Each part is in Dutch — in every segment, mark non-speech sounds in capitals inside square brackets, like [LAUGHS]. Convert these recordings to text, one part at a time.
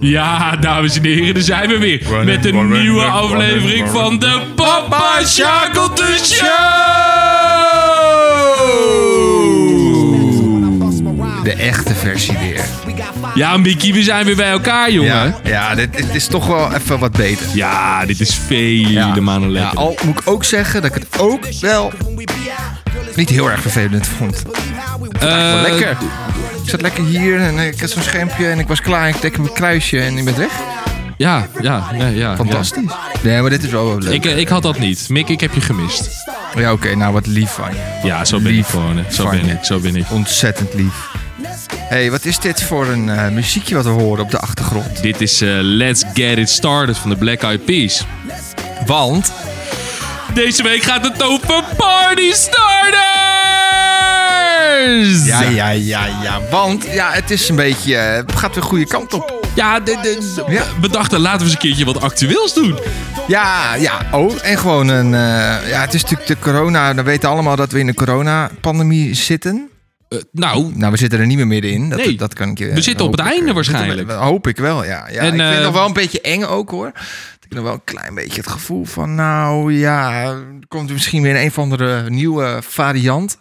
Ja, dames en heren, daar zijn we weer. Wanneer, met een wanneer, nieuwe wanneer, aflevering wanneer, van de Papa Shackleton Show! De echte versie weer. Ja, Mickey, we zijn weer bij elkaar, jongen. Ja, Ja, ja dit, dit is toch wel even wat beter. dit is vele maanden ja, lekker. al moet ik ook zeggen dat ik het ook wel niet heel erg vervelend vond. Wel Eh, lekker. Ik zat lekker hier en ik had zo'n schermpje en ik was klaar. Ik tekende mijn kruisje en ik ben weg. Ja, ja, ja. ja Fantastisch. Nee, maar dit is wel wel ja. leuk. Ik, eh, ik had dat niet. Mick, ik heb je gemist. Ja, oké. nou, wat lief van je. Ja, zo ben Lief ik gewoon. hè. Zo van ben je. ik, zo ben ik. Ontzettend lief. hey, wat is dit voor een eh, muziekje wat we horen op de achtergrond? Dit is eh, Let's Get It Started van de Black Eyed Peas. Want Deze week gaat het over Party Starters! Ja, ja, ja, ja. Want ja, het is een beetje. eh, Het gaat de goede kant op. Ja, de- de- Ja. we dachten laten we eens een keertje wat actueels doen. Ja, ja. Oh, en gewoon een. eh, ja, het is natuurlijk de corona. We weten allemaal dat we in de coronapandemie zitten. Eh, nou, Nou, we zitten er niet meer middenin. Dat, Nee. dat kan ik je. We zitten op het hoop ik, einde eh, waarschijnlijk. zitten we- hoop ik wel, ja. ja En, ik vind eh, het nog wel een beetje eng ook hoor. Ik heb nog wel een klein beetje het gevoel van. Nou ja, er komt er misschien weer een of andere nieuwe variant.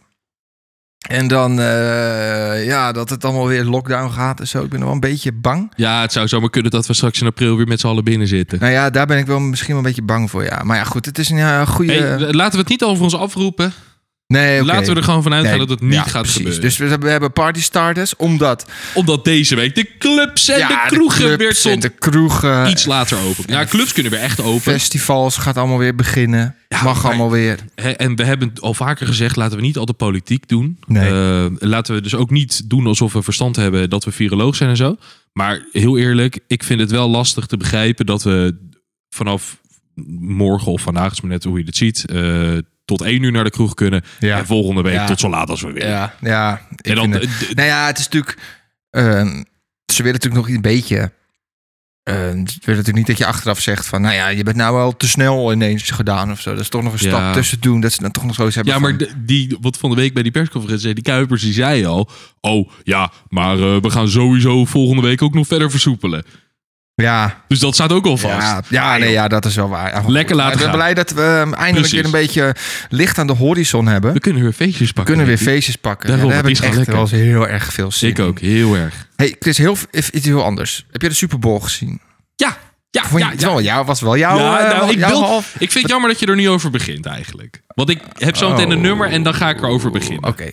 En dan, eh, ja, dat het allemaal weer lockdown gaat en zo. Ik ben er wel een beetje bang. ja, het zou zomaar kunnen dat we straks in april weer met z'n allen binnen zitten. Nou ja, daar ben ik wel misschien wel een beetje bang voor, ja. Maar ja, goed, het is een ja, goede... Hey, l- laten we het niet over ons afroepen. nee, oké. Laten we er gewoon vanuit Nee, gaan dat het niet ja, gaat precies. gebeuren. Dus we hebben, we hebben party starters, omdat... Omdat deze week de clubs en ja, de kroegen clubs weer en tot de kroegen, iets later open. Ja, clubs kunnen weer echt open. festivals gaat allemaal weer beginnen. Mag maar- allemaal weer. Hè, En we hebben al vaker gezegd, laten we niet altijd politiek doen. Nee. Eh, laten we dus ook niet doen alsof we verstand hebben dat we viroloog zijn en zo. Maar heel eerlijk, ik vind het wel lastig te begrijpen dat we vanaf morgen of vandaag, is maar net hoe je het ziet, eh, tot één uur naar de kroeg kunnen. Ja. En volgende week Ja. tot zo laat als we willen. Ja, ja. ik En dan, vind het- eh, d- nou ja, het is natuurlijk... ehm, ze willen natuurlijk nog een beetje... ehm, ze willen natuurlijk niet dat je achteraf zegt van... Nou ja, je bent nou al te snel ineens gedaan of zo. Dat is toch nog Ja. een stap tussen doen. Dat ze dan toch nog zoiets hebben Ja, maar van- de- die, wat van de week bij die persconferentie zei, die Kuipers, die zei al... Oh, ja, maar eh, we gaan sowieso volgende week ook nog verder versoepelen. Ja, Dus dat staat ook al vast. Ja, ja, nee, ja, dat is wel waar. Ja, maar Lekker goed. laten Ik ben gaan. blij dat we ehm, eindelijk Precies. weer een beetje licht aan de horizon hebben. We We kunnen weer feestjes pakken. kunnen weer denk ik. feestjes pakken. Daarom, Ja, daar het heb ik is gewoon echt wel lekker. heel erg veel zin Ik in. ook, heel erg. Hey, Chris, heel, even iets heel anders. Heb je de Super Bowl gezien? Ja, ja, Vond je, ja. het ja. Wel, jou, was wel jouw... Ja, eh, nou, ik, jouw wil- half- ik vind het jammer dat je er nu over begint eigenlijk. Want ik heb zo meteen een Oh. nummer en dan ga ik erover beginnen. Oké.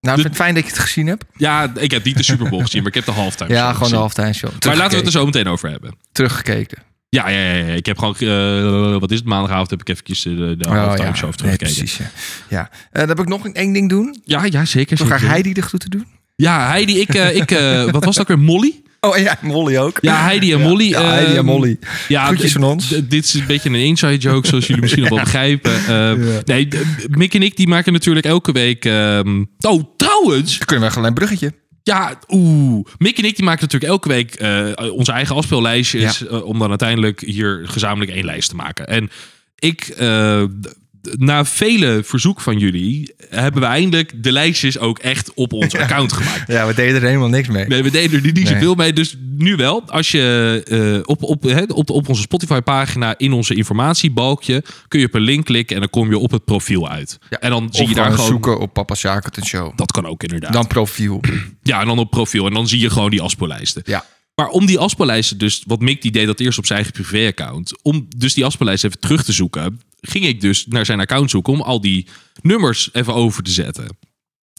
Nou, ik De- vind het fijn dat je het gezien hebt. Ja, ik heb niet de Super Bowl gezien, maar ik heb de halftime show Ja, gewoon de gezien. halftime show. Maar laten we Teruggekeken. het Oh, er zo meteen over hebben. Teruggekeken. Ja, ja, ja, ja. ik heb gewoon, eh, wat is het, maandagavond heb ik eventjes eh, de, de Oh, halftime ja. show Nee, even teruggekeken. precies, ja. ja. Eh, dan heb ik nog een- één ding doen. ja, ja, zeker. Zo graag zeker. Heidi er goed te doen. Ja, Heidi, ik, eh, ik eh, wat was dat ook weer, Molly? Oh ja, Molly ook. Ja, Heidi en Molly. Ja, Heidi en ehm, Molly. Ja, Groetjes d- van ons. d- Dit is een beetje een inside joke, zoals jullie misschien [LAUGHS] al wel begrijpen. Eh, Nee, d- Mick en ik die maken natuurlijk elke week. ehm, oh, trouwens. Dan kunnen we gelijk een bruggetje. Ja, oeh. Mick en ik die maken natuurlijk elke week eh, onze eigen afspeellijstjes. eh, om dan uiteindelijk hier gezamenlijk één lijst te maken. En ik. eh, d- d- na vele verzoek van jullie hebben we eindelijk de lijstjes ook echt op ons account gemaakt. [LAUGHS] Ja, we deden er helemaal niks mee. Nee, we deden er niet Nee. zoveel mee. Dus nu wel. Als je eh, op, op, hè, op, op onze Spotify-pagina in onze informatiebalkje... kun je op een link klikken en dan kom je op het profiel uit. Ja, En dan Of zie je daar gewoon... zoeken op Papa Shackleton Show. Dat kan ook inderdaad. Dan profiel. ja, en dan op profiel. En dan zie je gewoon die afspeellijsten. Ja. Maar om die afspeellijsten dus... Wat Mick die deed dat eerst op zijn eigen privéaccount. Om dus die afspeellijsten even terug te zoeken... ging ik dus naar zijn account zoeken... om al die nummers even over te zetten.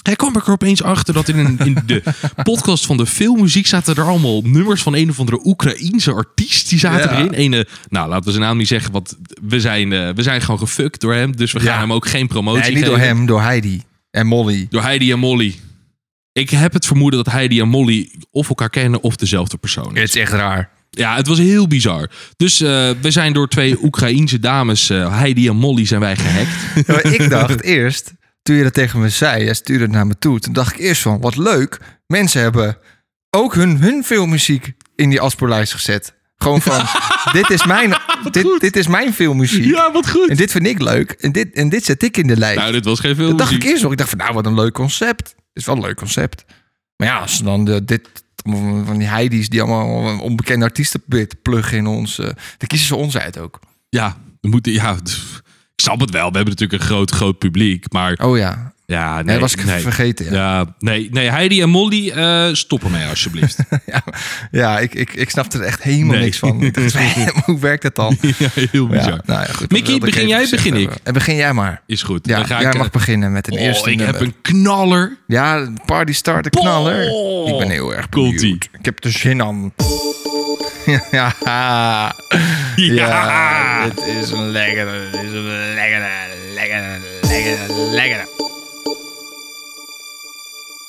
Hij kwam er opeens achter dat in, een- in [LAUGHS] de podcast van de filmmuziek zaten er allemaal nummers van een of andere Oekraïense artiest. Die zaten Ja. erin. Ene, nou, laten we zijn naam niet zeggen, want we zijn, eh, we zijn gewoon gefuckt door hem. Dus we gaan Ja. hem ook geen promotie Nee, niet door geven. hem, door Heidi en Molly. Door Heidi en Molly. Ik heb het vermoeden dat Heidi en Molly of elkaar kennen of dezelfde persoon is. Het is echt raar. Ja, het was heel bizar. Dus eh, we zijn door twee Oekraïense dames, eh, Heidi en Molly, zijn wij gehackt. Ja, maar ik dacht eerst, toen je dat tegen me zei, jij stuurde het naar me toe. Toen dacht ik eerst van, wat leuk. Mensen hebben ook hun, hun filmmuziek in die afspeellijst gezet. Gewoon van, [LAUGHS] dit is mijn, dit, dit is mijn filmmuziek. wat goed. En dit vind ik leuk. En dit, en dit zet ik in de lijst. Nou, dit was geen dat dacht filmmuziek. ik eerst nog. Ik dacht van, nou, wat een leuk concept. Is wel een leuk concept. Maar ja, als ze dan de, dit van van die Heidi's die allemaal onbekende artiesten proberen te pluggen in ons. eh daar kiezen ze ons uit ook. Ja, we moeten, ja, pff, ik snap het wel. We hebben natuurlijk een groot, groot publiek. Maar Oh ja, nee, ja, nee. dat was ik nee. vergeten. Ja, Ja, nee, nee, Heidi en Molly, eh stop ermee alsjeblieft. [LAUGHS] ja, ik, ik, ik snap er echt helemaal Nee. niks van. [LAUGHS] Ik dacht, hoe werkt dat dan? [LAUGHS] ja, heel [LAUGHS] Ja, bizar. nou ja, goed, Mickey, dat begin even jij, gezegd begin hebben. ik? En begin jij maar. Is goed. Ja, Dan ga jij ik, mag eh, beginnen met een oh, eerste ik heb nummer. een knaller. Ja, party start een knaller. Oh. Ik ben heel erg Komt-ie. benieuwd. Ik heb er zin aan. [LAUGHS] ja, ja. Ja. dit is een lekkere, dit is een lekkere, lekkere, lekkere, lekkere.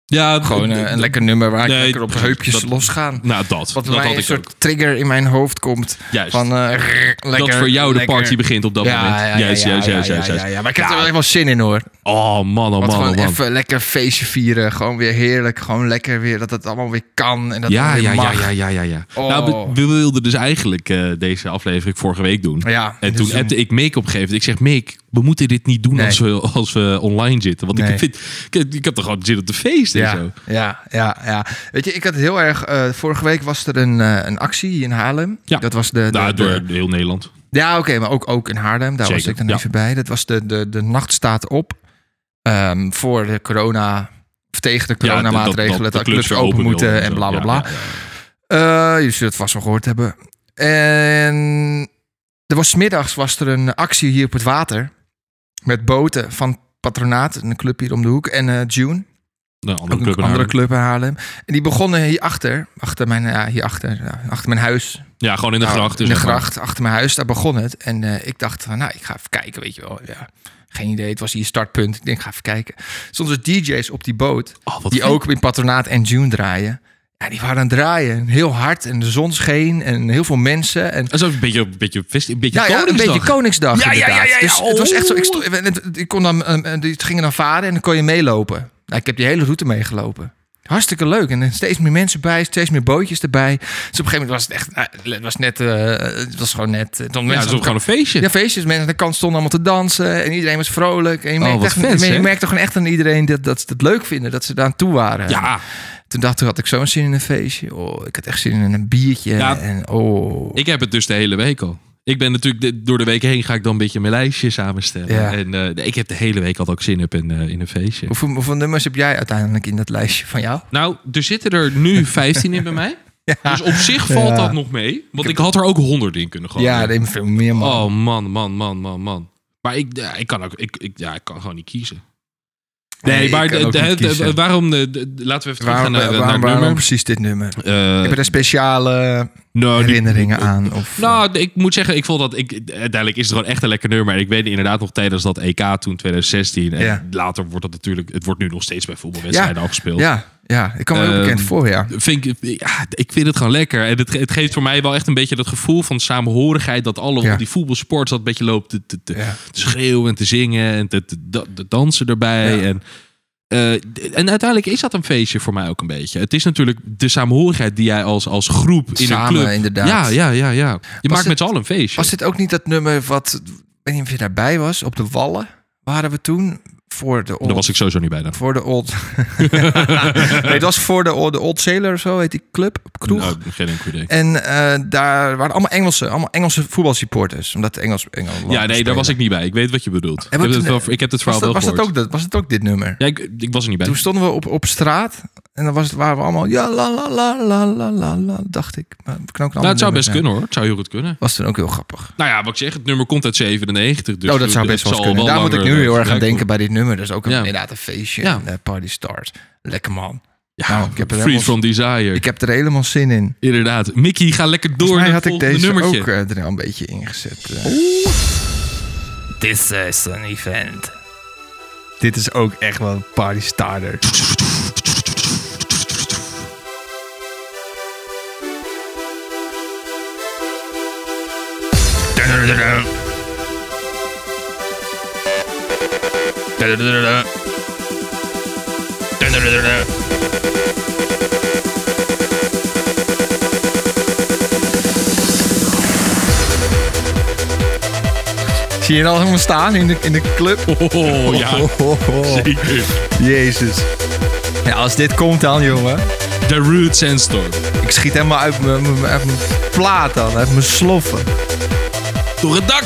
Ja, Gewoon eh, een lekker nummer waar ik Nee, lekker op precies, heupjes dat- losgaan. Nou, dat. dat Wat bij mij had een ik soort ook. trigger in mijn hoofd komt. Juist. Van, eh, rrr, lekker, dat voor jou de lekker. party begint op dat Ja, moment. ja, ja, juist, ja, juist, ja, juist, ja, juist, ja, juist. ja. Maar ik heb er Ja. wel echt wel zin in hoor. Oh man, oh Want man, gewoon oh man. even lekker feestje vieren. Gewoon weer heerlijk. Gewoon lekker weer dat het allemaal weer kan. En dat het Ja, weer ja, ja, mag. ja, ja, ja, ja. Oh. Nou, we- we wilden dus eigenlijk eh, deze aflevering vorige week doen. Ja, en dus toen toen- appte ik Mick op een gegeven moment. Ik zeg, Mick, we moeten dit niet doen Nee. als, we, als we online zitten. Want Nee. ik vind, ik, ik heb toch gewoon zin op de feest en zo. Ja, ja, ja, ja. Weet je, ik had heel erg... eh, vorige week was er een, eh, een actie hier in Haarlem. Ja. Dat was de... de- Nou, de- door heel Nederland. ja, oké, maar ook, ook in Haarlem. Daar was Zeker, ik dan ja. even bij. Dat was de, de, de nacht staat op ehm, voor de corona... Of tegen de Ja, dat- dat- coronamaatregelen. dat, de clubs open moeten wilden en zo. bla, bla, Ja, bla. ja, ja. Eh, jullie zullen het vast wel gehoord hebben. En er was 's middags was er een actie hier op het water. Met boten van Patronaat, een club hier om de hoek. En eh, June, Nou, ook andere een club in andere Haarlem. club in Haarlem. En die begonnen hierachter, achter mijn, ja, hierachter, ja, achter mijn huis. Ja, gewoon in de Nou, gracht. in de zeg maar. gracht, achter mijn huis, daar begon het. En eh, ik dacht, van, nou, ik ga even kijken, weet je wel. Ja, geen idee, het was hier startpunt. Ik denk, ik ga even kijken. Soms DJ's op die boot Oh, wat die vet. ook in Patronaat en June draaien. Ja, die waren aan het draaien. Heel hard en de zon scheen en heel veel mensen. En, Dat is ook een beetje, een beetje, fest- een beetje Nou ja, ja, een Koningsdag. beetje Koningsdag Ja, ja, ja, inderdaad. ja, ja. Dus het was echt zo... Oh. Ik, sto- en het- ik kon dan, eh, eh, die gingen dan varen en dan kon je meelopen. Nou, ik heb die hele route meegelopen. Hartstikke leuk. En er steeds meer mensen bij, steeds meer bootjes erbij. Dus op een gegeven moment was het echt... eh, het was net... eh, het was gewoon net... eh, toen Ja, mensen het is ook gewoon een feestje. ja, feestjes. Mensen aan de kant stonden allemaal te dansen. En iedereen was vrolijk. En je Oh, merkte, wat echt, vet, je zeg. merkte gewoon echt aan iedereen dat, dat ze het leuk vinden. Dat ze daar aan toe waren. Ja, Toen dacht ik, had ik zo'n zin in een feestje. Oh, ik had echt zin in een biertje. Ja. En oh. ik heb het dus de hele week al. Ik ben natuurlijk de- door de week heen ga ik dan een beetje mijn lijstje samenstellen. Ja. En eh, ik heb de hele week al ook zin op in, eh, in een feestje. Hoeveel, hoeveel nummers heb jij uiteindelijk in dat lijstje van jou? Nou, er zitten er [LAUGHS] nu 15 in bij mij. Dus op zich valt Ja. dat nog mee. Want ik had er ook 100 in kunnen gooien. ja, neem veel meer man. oh man, man, man, man, man. Maar ik, ja, ik kan ook, ik, ik, ja, ik kan gewoon niet kiezen. Nee, Nee, maar ik kan ook de- niet de- de- kiezen. waarom... eh, de- de- laten we even teruggaan Waarom, naar, waarom, naar het waarom nummer. precies dit nummer? Eh, Heb je er speciale nou, die- herinneringen aan? Of, Nou, ik moet zeggen, ik vond dat ik uiteindelijk is het gewoon echt een lekker nummer. En ik weet inderdaad nog tijdens dat EK toen 2016. En Ja. later wordt dat natuurlijk, het wordt nu nog steeds bij ja, voetbalwedstrijden afgespeeld. ja, ja, ik kan me heel Ehm, bekend voor, ja. Vind ik, ja, ik vind het gewoon lekker. En het, ge- het geeft voor mij wel echt een beetje dat gevoel van samenhorigheid. Dat alle Ja. op die voetbalsport dat een beetje loopt te, te, te, Ja. te schreeuwen en te zingen en te, te, da- te dansen erbij. Ja. En, eh, d- en uiteindelijk is dat een feestje voor mij ook een beetje. Het is natuurlijk de samenhorigheid die jij als, als groep in Samen, een club... inderdaad. Ja, ja, ja, ja. Je maakt het- met z'n allen een feestje. Was dit ook niet dat nummer wat, ik weet niet of je daarbij was, op de Wallen waren we toen voor de Old... Oh, Daar was ik sowieso niet bij dan. Voor de [LAUGHS] Old... nee, het was voor de Old, de old Sailor of zo, heet die club, kroeg. Nou, geen enkel idee. En eh, daar waren allemaal Engelsen, allemaal Engelse voetbalsupporters. Omdat Engels, Engeland Ja, nee, daar was ik niet bij. Ik weet wat je bedoelt. Ik heb, wat- het wel, ik heb het was verhaal dat, wel was, dat gehoord. ook, dat, was dat ook dit nummer? Ja, ik, ik was er niet bij. Toen stonden we op, op straat en dan was, het- waren we allemaal... Ja, la, la, la, la, la, la, la, dacht ik. Maar we knokken Nou, het zou best allemaal nummers, ja. kunnen hoor. Het zou heel goed kunnen. Was toen ook heel grappig. Nou ja, wat ik zeg, het nummer komt uit 97. Dus oh, dat zou het best wel eens zal kunnen. Daar moet ik langer, nu eh, heel erg aan gelijk denken bij dit nummer. Dat is ook een, Ja. inderdaad een feestje. Ja. En, eh, party start. Lekker man. worden. Ja, Nou, ik heb er Free helemaal- from Desire. Ik heb er helemaal zin in. Inderdaad. Mickey, ga lekker door Volgens mij naar had het ik volgende deze nummertje. ook eh, er al een beetje ingezet. eh. This is an event. Dit is ook echt wel een party starter. Zie je het al helemaal staan in de, in de club? Oh, ja. Zeker. Jezus. Ja, als dit komt dan, jongen. The Root Sandstorm. Ik schiet helemaal uit mijn- mijn uit mijn plaat dan, uit mijn sloffen. Door het dak.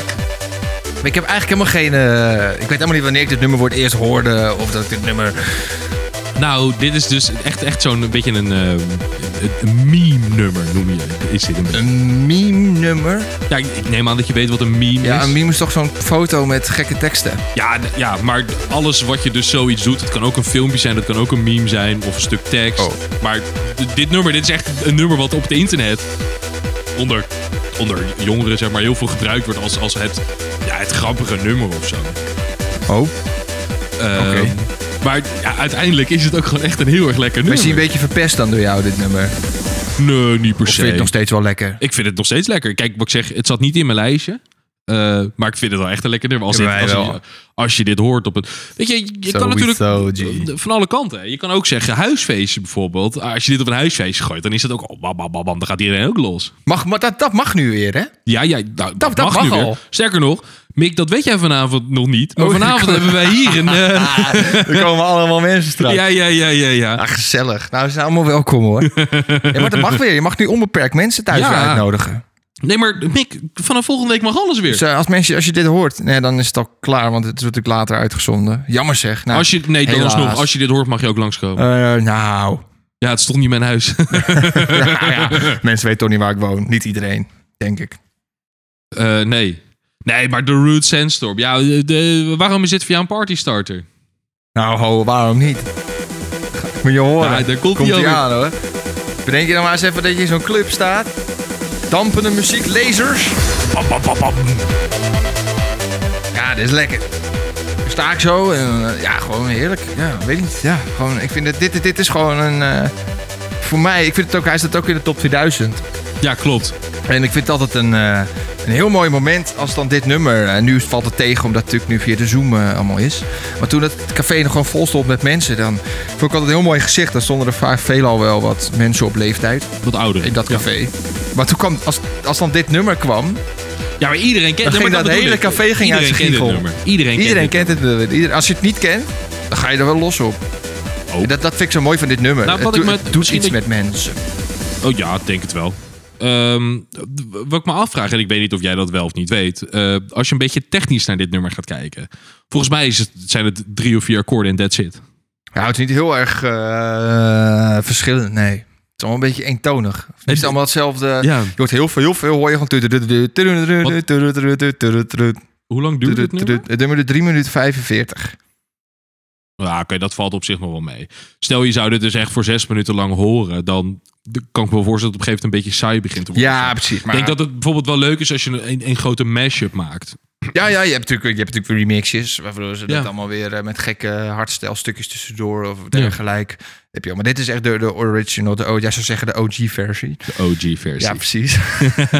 Maar ik heb eigenlijk helemaal geen... eh, ik weet helemaal niet wanneer ik dit nummer voor het eerst hoorde. Of dat ik dit nummer... Nou, dit is dus echt, echt zo'n beetje een, eh, een- een meme-nummer, noem je. Is dit een beetje. Een meme nummer? Ja, ik- ik neem aan dat je weet wat een meme Ja, is. een meme is toch zo'n foto met gekke teksten? Ja, d- ja, maar alles wat je dus zoiets doet, het kan ook een filmpje zijn, het kan ook een meme zijn of een stuk tekst. Oh. Maar d- dit nummer, dit is echt een nummer wat op het internet onder, onder jongeren zeg maar heel veel gebruikt wordt als, als het, ja, het grappige nummer of zo. Oh. Ehm, Oké. Maar ja, uiteindelijk is het ook gewoon echt een heel erg lekker Maar is nummer. die een beetje verpest dan door jou, dit nummer? Of Nee, niet per vind se. je het nog steeds wel lekker? Ik vind het nog steeds lekker. Kijk, wat ik zeg, het zat niet in mijn lijstje. Eh, maar ik vind het wel echt een lekker nummer. Als, Ja, dit, wij als, wel. je, als je dit hoort op het... Weet je, je So kan we natuurlijk eh, so, G. van alle kanten. hè. Je kan ook zeggen, huisfeestje bijvoorbeeld. Ah, Als je dit op een huisfeestje gooit, dan is dat ook... Oh, bam, bam, bam, bam, dan gaat iedereen ook los. Mag, maar dat, dat mag nu weer, hè? Ja, ja nou, dat, dat mag, mag nu weer. al. Sterker nog, Mick, dat weet jij vanavond nog niet. Maar Oh, vanavond ik- hebben wij hier een... [LAUGHS] eh, [LAUGHS] Er komen allemaal mensen straks. ja, ja, ja, ja, ja. Ah, gezellig. Nou, ze zijn allemaal welkom, [LAUGHS] hoor. ja, maar dat mag weer. Je mag nu onbeperkt mensen thuis Ja. weer uitnodigen. Nee, maar Mick, vanaf volgende week mag alles weer. Dus eh, als, mensen, als je dit hoort, nee, dan is het al klaar, want het wordt natuurlijk later uitgezonden. Jammer zeg. Nou, Als je, nee, dan helaas. alsnog, als je dit hoort, mag je ook langskomen. Eh, nou, [LAUGHS] Ja, het stond niet in mijn huis. ja, ja. mensen weten toch niet waar ik woon. Niet iedereen, denk ik. Eh, nee. Nee, maar The Root Sandstorm. Ja, de, de- waarom is dit voor jou een partystarter? Nou, ho, waarom niet? Moet je horen. Nou, daar komt komt hij hij ook. aan, hoor. Bedenk je nou maar eens even dat je in zo'n club staat. Dampende muziek, lasers. Pam, pam, pam, pam. Ja, dit is lekker. Dan sta ik zo en eh, ja, gewoon heerlijk. Ja, weet niet. Ja, gewoon, ik vind dat dit, dit, dit is gewoon een... eh, voor mij, ik vind het ook, hij staat ook in de top 2000. Ja, klopt. En ik vind het altijd een, eh, een heel mooi moment als dan dit nummer. En nu valt het tegen omdat het natuurlijk nu via de Zoom eh, allemaal is. Maar toen het café nog gewoon vol stond met mensen, dan vond ik altijd een heel mooi gezicht. Dan stonden er vaak veelal wel wat mensen op leeftijd Wat ouder. in dat Ja. café. Maar toen kwam, als, als dan dit nummer kwam, Ja, maar iedereen kent Nee, Dan maar ging dat bedoel hele ik. café ging uit Iedereen zijn kent dit giegel. nummer. Iedereen, iedereen kent kent het. nummer. Ieder- als je het niet kent, dan ga je er wel los op. Oh. En dat, dat vind ik zo mooi van dit nummer. Nou, wat het, ik doe- me- het doet misschien iets dat- met mensen. dit. Oh ja, ik denk het wel. Ehm, w- wat ik me afvraag, en ik weet niet of jij dat wel of niet weet. eh, als je een beetje technisch naar dit nummer gaat kijken. Volgens mij is het, zijn het drie of vier akkoorden en that's it. Ja, het is niet heel erg eh, verschillend, nee. Het is allemaal een beetje eentonig. Het is niet allemaal hetzelfde. Ja. Je hoort heel veel, heel veel hoor je gewoon... Hoe lang duurt dit nummer? Het nummer duurt 3 minuten 45. Ja, oké, dat valt op zich nog wel mee. Stel, je zou dit dus echt voor zes minuten lang horen, dan d- kan ik me wel voorstellen dat het op een gegeven moment een beetje saai begint te worden. Ja, precies. Ik Maar denk dat het bijvoorbeeld wel leuk is als je een, een, een grote mashup maakt. ja, ja, je, hebt natuurlijk, je hebt natuurlijk weer remixes, waarvoor ze Ja. dat allemaal weer eh, met gekke hardstelstukjes tussendoor of Ja. dergelijk. Heb je, al. maar dit is echt de, de original, de, O- ja, zou zeggen de OG-versie. De OG-versie. Ja, precies. [LAUGHS]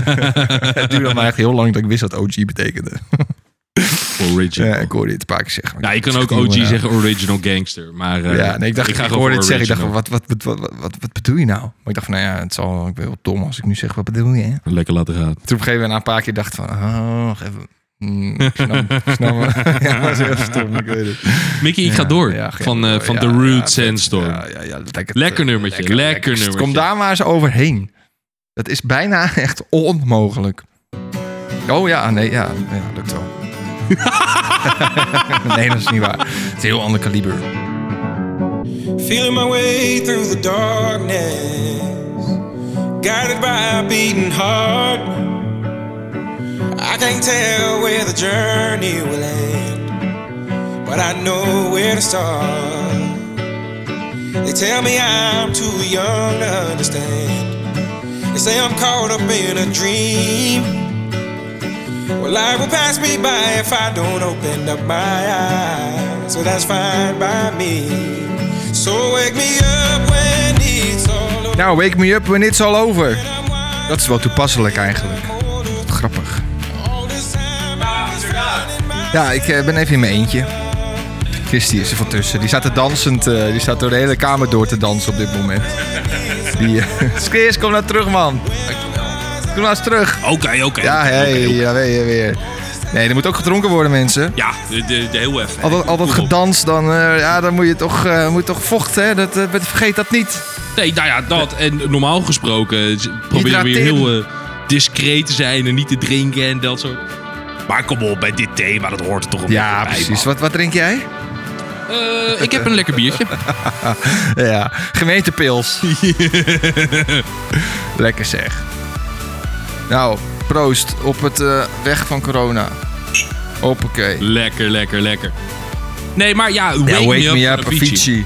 het duurde mij echt heel lang dat ik wist wat OG betekende. [LAUGHS] original. Ja, ik hoorde dit een paar keer zeggen. ja, Nou, je kan ook OG zeggen original gangster, maar eh, Ja, nee, ik dacht, ik, ga gewoon hoorde voor dit zeggen. Ik dacht, original. wat, wat, wat, wat, wat, wat, wat bedoel je nou? Maar ik dacht van, nou ja, het zal, ik ben wel dom als ik nu zeg, wat bedoel je? Hè? Toen Lekker laten gaan. op een gegeven moment na een paar keer dacht van, oh, wacht even. Mm, ik snap, ik snap me. [LAUGHS] ja, dat is heel stom, ik weet het. Mickey, ik Ja, ga door. ja, geen van eh, door. van Ja, The Root ja, Sandstorm. Ja, ja, ja, lekker, Lekker nummertje, lekker nummertje. Kom daar maar eens overheen. Dat is bijna [LAUGHS] echt onmogelijk. Oh ja, nee, ja, ja lukt wel. [LAUGHS] nee, dat is niet waar. Het is een heel ander kaliber. Feeling my way through the darkness, guided by a beating heart. I can't tell where the journey will end, but I know where to start. They tell me I'm too young to understand. They say I'm caught up in a dream. Well, life will pass me by if I don't open up my eyes. So that's fine by me. So wake me up when it's all over. Nou, wake me up when it's all over. I'm wide Dat is wel toepasselijk eigenlijk. older. Grappig. All this time I was running my Ja, ik eh, ben even in mijn eentje. Christy is er van tussen. Die staat er dansend, eh, die staat door de hele kamer door te dansen op dit moment. Die, eh, [LAUGHS] Chris, kom nou terug man. Kom nou eens terug. Oké, oké. Ja, eh, oké, hé, oké, oké. ja, weer, weer. Nee, er moet ook gedronken worden, mensen. Ja, de, de, de heel even. Al dat, al dat Kom op. gedans, dan, eh, ja, dan moet je toch, eh, moet toch vocht, hè? Dat, eh, vergeet dat niet. Nee, nou ja, dat. En normaal gesproken z- proberen we hier Hydrateer. heel eh, discreet te zijn en niet te drinken en dat soort. Maar kom op, bij dit thema, dat hoort er toch een Ja, beetje bij, precies. man. Wat, wat drink jij? Eh, ik heb een lekker biertje. Ja, [LAUGHS] gemeentepils. Lekker zeg. Nou, proost op het eh, weg van corona. Hoppakee. lekker, lekker, lekker. Nee, maar ja, Wake, Ja, me, Up, van Avicii. Avicii.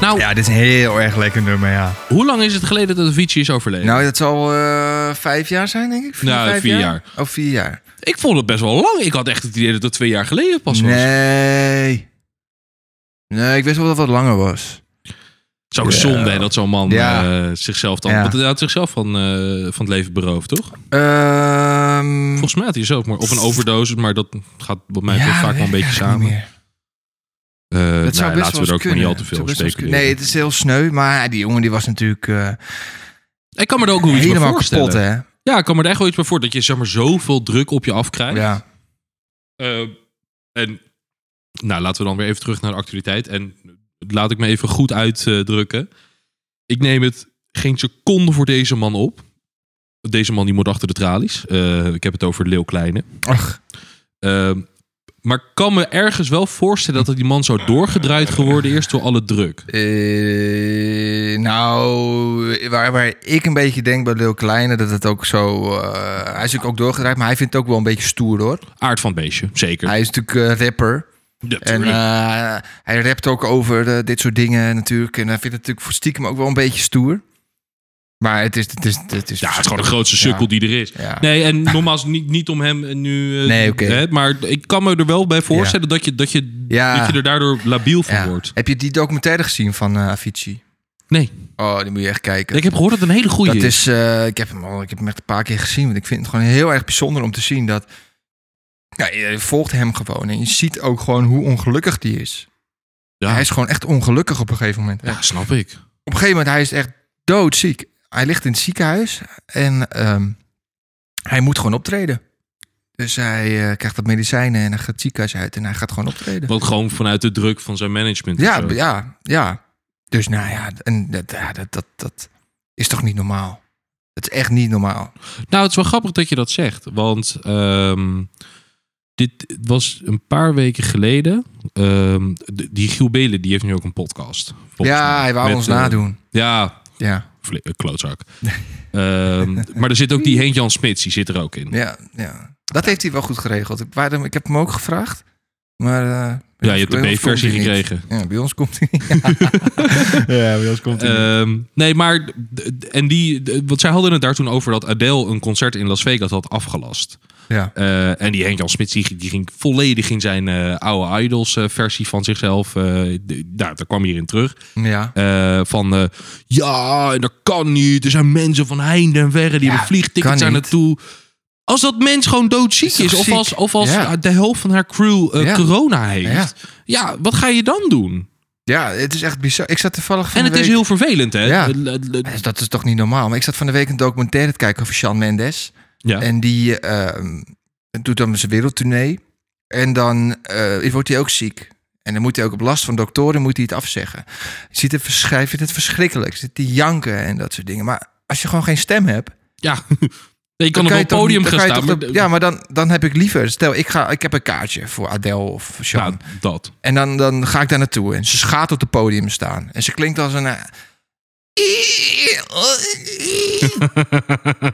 Nou, Ja, dit is een heel erg lekker nummer, ja. hoe lang is het geleden dat Avicii is overleden? Nou, dat zal eh, vijf jaar zijn, denk ik. Vier, Nou, vijf vier jaar. Oh, vier jaar. ik vond het best wel lang. Ik had echt het idee dat dat twee jaar geleden pas was. Nee. Nee, ik wist wel dat het wat langer was. Zo'n zonde hè, dat zo'n man Ja. eh, zichzelf dan... Ja. Hm. Want hij had zichzelf van, eh, van het leven beroofd, toch? Ehm Volgens mij had hij zelf maar... Of een overdosis, maar dat gaat wat mij betreft vaak wel een weet ik beetje eigenlijk samen. niet meer. Eh, nou, Dat zou best laten we wel er ook eens maar niet al kunnen. te Zou veel best wel eens kunnen. speculeren. Nee, het is heel sneu, maar die jongen die was natuurlijk eh, ik kan me er ook wel iets bij helemaal voorstellen. kapot, hè? ja, ik kan me er echt wel iets bij voor dat je zeg maar, zoveel druk op je afkrijgt. Ja. Eh, en nou, laten we dan weer even terug naar de actualiteit. En laat ik me even goed uitdrukken. Ik neem het geen seconde voor deze man op. Deze man die moet achter de tralies. Eh, ik heb het over Leeuw Kleine. Ach, Ehm, maar ik kan me ergens wel voorstellen dat die man zou doorgedraaid geworden eerst door alle druk. eh, nou, waar, waar ik een beetje denk bij Lil Kleine, dat het ook zo... eh, hij is natuurlijk ook doorgedraaid, maar hij vindt het ook wel een beetje stoer, hoor. Aard van het beestje, zeker. Hij is natuurlijk eh, rapper. Ja, En tuurlijk. eh, hij rapt ook over eh, dit soort dingen natuurlijk. En hij vindt het natuurlijk voor stiekem ook wel een beetje stoer. Maar het is... Het is, het is ja, het is gewoon de grootste sukkel Ja. die er is. Ja. Nee, en nogmaals, niet, niet om hem eh, nu... eh, Nee, oké. hè, maar ik kan me er wel bij voorstellen dat, je, dat, je, Ja. dat je er daardoor labiel van Ja. wordt. Heb je die documentaire gezien van eh Avicii? Nee, Oh, die moet je echt kijken. ik heb gehoord dat het een hele goede dat is. is, eh, ik, heb hem al, ik heb hem echt een paar keer gezien. Want ik vind het gewoon heel erg bijzonder om te zien dat... Ja, je volgt hem gewoon en je ziet ook gewoon hoe ongelukkig die is. Ja. Hij is gewoon echt ongelukkig op een gegeven moment. Ja, snap ik. op een gegeven moment, hij is echt doodziek. Hij ligt in het ziekenhuis en ehm, hij moet gewoon optreden. Dus hij eh, krijgt wat medicijnen en hij gaat het ziekenhuis uit en hij gaat gewoon optreden. Want gewoon vanuit de druk van zijn management. of Ja, zo. b- ja, ja. Dus nou ja, en dat, ja, dat, dat, dat is toch niet normaal? Dat is echt niet normaal. Nou, het is wel grappig dat je dat zegt. Want ehm, dit was een paar weken geleden. Ehm, d- die Giel Belen, die heeft nu ook een podcast. volgens ja, mij. hij wou Met, ons eh, nadoen. Ja, Ja, vle- eh, klootzak. Ehm, maar er zit ook die Henk-Jan Smits, die zit er ook in. ja, ja. Dat heeft hij wel goed geregeld. Ik, waar- ik heb hem ook gevraagd, maar eh, Ja, je hebt de Bij ons B-versie komt hij niet. gekregen. Ja, bij ons komt hij niet. Ja, bij ons komt hij niet. Ehm, nee, maar. d- d- En die. d- Want zij hadden het daar toen over dat Adele een concert in Las Vegas had afgelast. Ja. Eh, en die Henk-Jan Smit die, die ging volledig in zijn eh, oude Idols-versie van zichzelf. eh, d- nou, daar kwam hij in terug. Ja. Eh, van eh, ja, en dat kan niet. Er zijn mensen van heinde en verre die Ja, hebben kan vliegtickets daar niet. naartoe. Als dat mens gewoon doodziek Is is, toch of ziek? als, of als Ja. de helft van haar crew eh, Ja. corona heeft, Ja. ja. wat ga je dan doen? ja, het is echt bizar. Ik zat toevallig van En de het is week- heel vervelend, hè? Eh, Ja. L- l- l- Dus Dat is toch niet normaal? Maar ik zat van de week een documentaire te kijken over Sean Mendes. ja. En die ehm, doet dan zijn wereldtournee. En dan eh, wordt hij ook ziek. En dan moet hij ook op last van doktoren moet hij het afzeggen. Je ziet het, versch- hij vindt het verschrikkelijk. Zit te janken en dat soort dingen. Maar als je gewoon geen stem hebt... ja. [LAUGHS] Nee, je kan dan op je een toch podium niet- gaan dan kan je staan. toch maar- de- ja, maar dan, dan heb ik liever... Stel, ik, ga, ik heb een kaartje voor Adele of Sean. ja, dat. En dan, dan ga ik daar naartoe. En ze gaat op het podium staan. En ze klinkt als een... eh,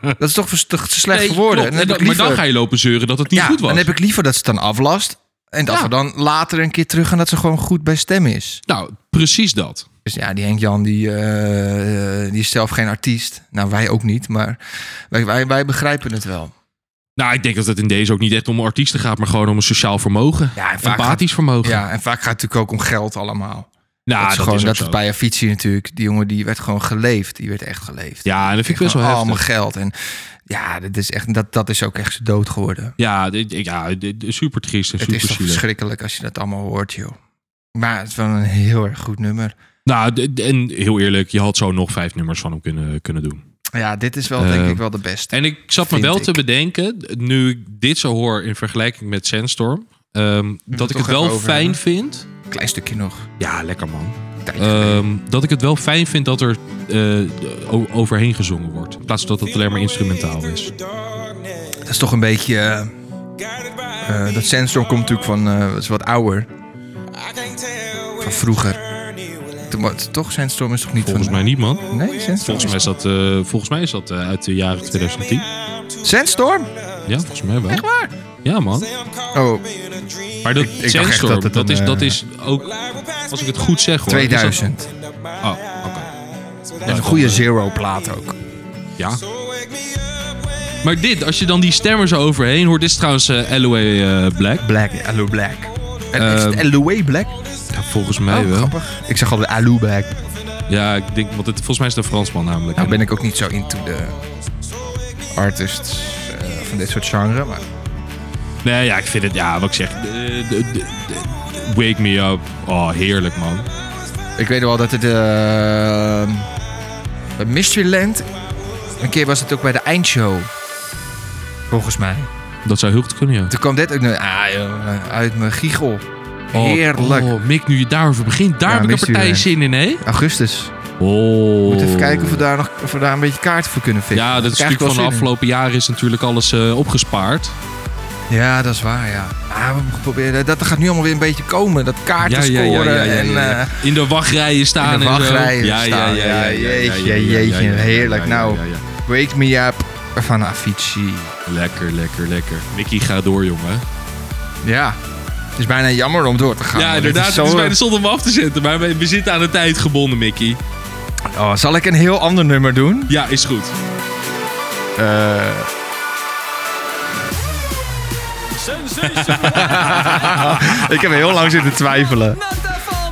dat is toch vers- te- te slecht Nee, voor woorden. klopt. En dan heb En ik dan- maar dan liever- ga je lopen zeuren dat het niet ja, goed was. dan heb ik liever dat ze het dan aflast. En dat Ja. we dan later een keer terug gaan dat ze gewoon goed bij stem is. Nou, precies dat. Dus ja, die Henk-Jan, die, eh, eh, die is zelf geen artiest. Nou, wij ook niet, maar wij, wij, wij begrijpen het wel. Nou, ik denk dat het in deze ook niet echt om artiesten gaat, maar gewoon om een sociaal vermogen. Ja, en vaak Empathisch vermogen. Ja, en vaak gaat het natuurlijk ook om geld allemaal. nou, dat dat is gewoon, is ook dat zo. is bij Avicii natuurlijk. Die jongen, die werd gewoon geleefd. Die werd echt geleefd. Ja, en dat vind ik best wel Gewoon heftig. allemaal geld. En ja, dat is, echt, dat, dat is ook echt zijn dood geworden. Ja, dit, ja dit, super triest en Het is super toch zielig. verschrikkelijk als je dat allemaal hoort, joh. Maar het is wel een heel erg goed nummer. Nou, d- d- en heel eerlijk, je had zo nog vijf nummers van hem kunnen, kunnen doen. Ja, dit is wel denk Eh, ik wel de beste. En ik zat Vind me wel ik. te bedenken, nu ik dit zo hoor in vergelijking met Sandstorm, ehm, dat ik toch het wel even over fijn hebben. vind. Klein stukje nog. Ja, lekker man. Tijdje geleden. Ehm, dat ik het wel fijn vind dat er eh, o- overheen gezongen wordt. In plaats van dat het alleen maar instrumentaal is. dat is toch een beetje... eh, eh, dat Sandstorm komt natuurlijk van... eh, het is wat ouder. vroeger. van vroeger. Toen was- Toch, Sandstorm is toch niet Volgens van... mij niet, man. Nee, Sandstorm Volgens mij is dat, eh, volgens mij is dat eh, uit de jaren 2010. Sandstorm? Ja, volgens mij wel. Echt waar? Ja, man. Oh, Maar dat echt Sandstorm, dat dat, het een, is, dat eh, is ook, als ik het goed zeg hoor. is dat- 2000. Oh, oké. En een goede Zero-plaat ook. Ja. Maar dit, als je dan die stemmen zo overheen hoort, dit is trouwens eh LOA eh, Black. Black, Alu Black. En is het Ehm, Aloe Black? Ja, volgens mij Oh, wel. grappig. Ik zeg altijd Alu Black. Ja, ik denk, want het, volgens mij is het een Fransman namelijk. Nou ben ik ook niet zo into de artists eh, van dit soort genre. Maar Nee, ja, ik vind het, ja, wat ik zeg. eh, de- de- de- wake me up. Oh, heerlijk man. ik weet wel dat het... eh, bij Mysteryland... Een keer was het ook bij de eindshow. Volgens mij. Dat zou heel goed kunnen, ja. Toen kwam dit ook naar, ah, joh, uit mijn giegel. Oh, Heerlijk. Oh, Mick, nu je daarover begint, daar Ja, heb ik een mist u partij weer. zin in, hè? Augustus. Oh. Moet even kijken of we, daar nog, of we daar een beetje kaarten voor kunnen vinden. Ja, dat is natuurlijk van de afgelopen jaren is natuurlijk alles eh, opgespaard. Ja, dat is waar, ja. Maar we moeten proberen, dat gaat nu allemaal weer een beetje komen. Dat kaarten scoren en... eh, in de wachtrijen staan in de en zo. wachtrijen Ja, ja, staan. ja, ja, ja, Ja, ja, ja, jeetje, ja, ja, ja, jeetje, ja, ja, heerlijk. ja, ja, Nou. ja, ja. Wake Me Up van Avicii. Lekker, lekker, lekker. Mickey, ga door, jongen. Ja, het is bijna jammer om door te gaan. ja, want dit inderdaad. is Het zo- is bijna zonde om af te zetten, maar we, we zitten aan de tijd gebonden, Mickey. Oh, zal ik een heel ander nummer doen? Ja, is goed. Eh, ik heb heel lang zitten twijfelen.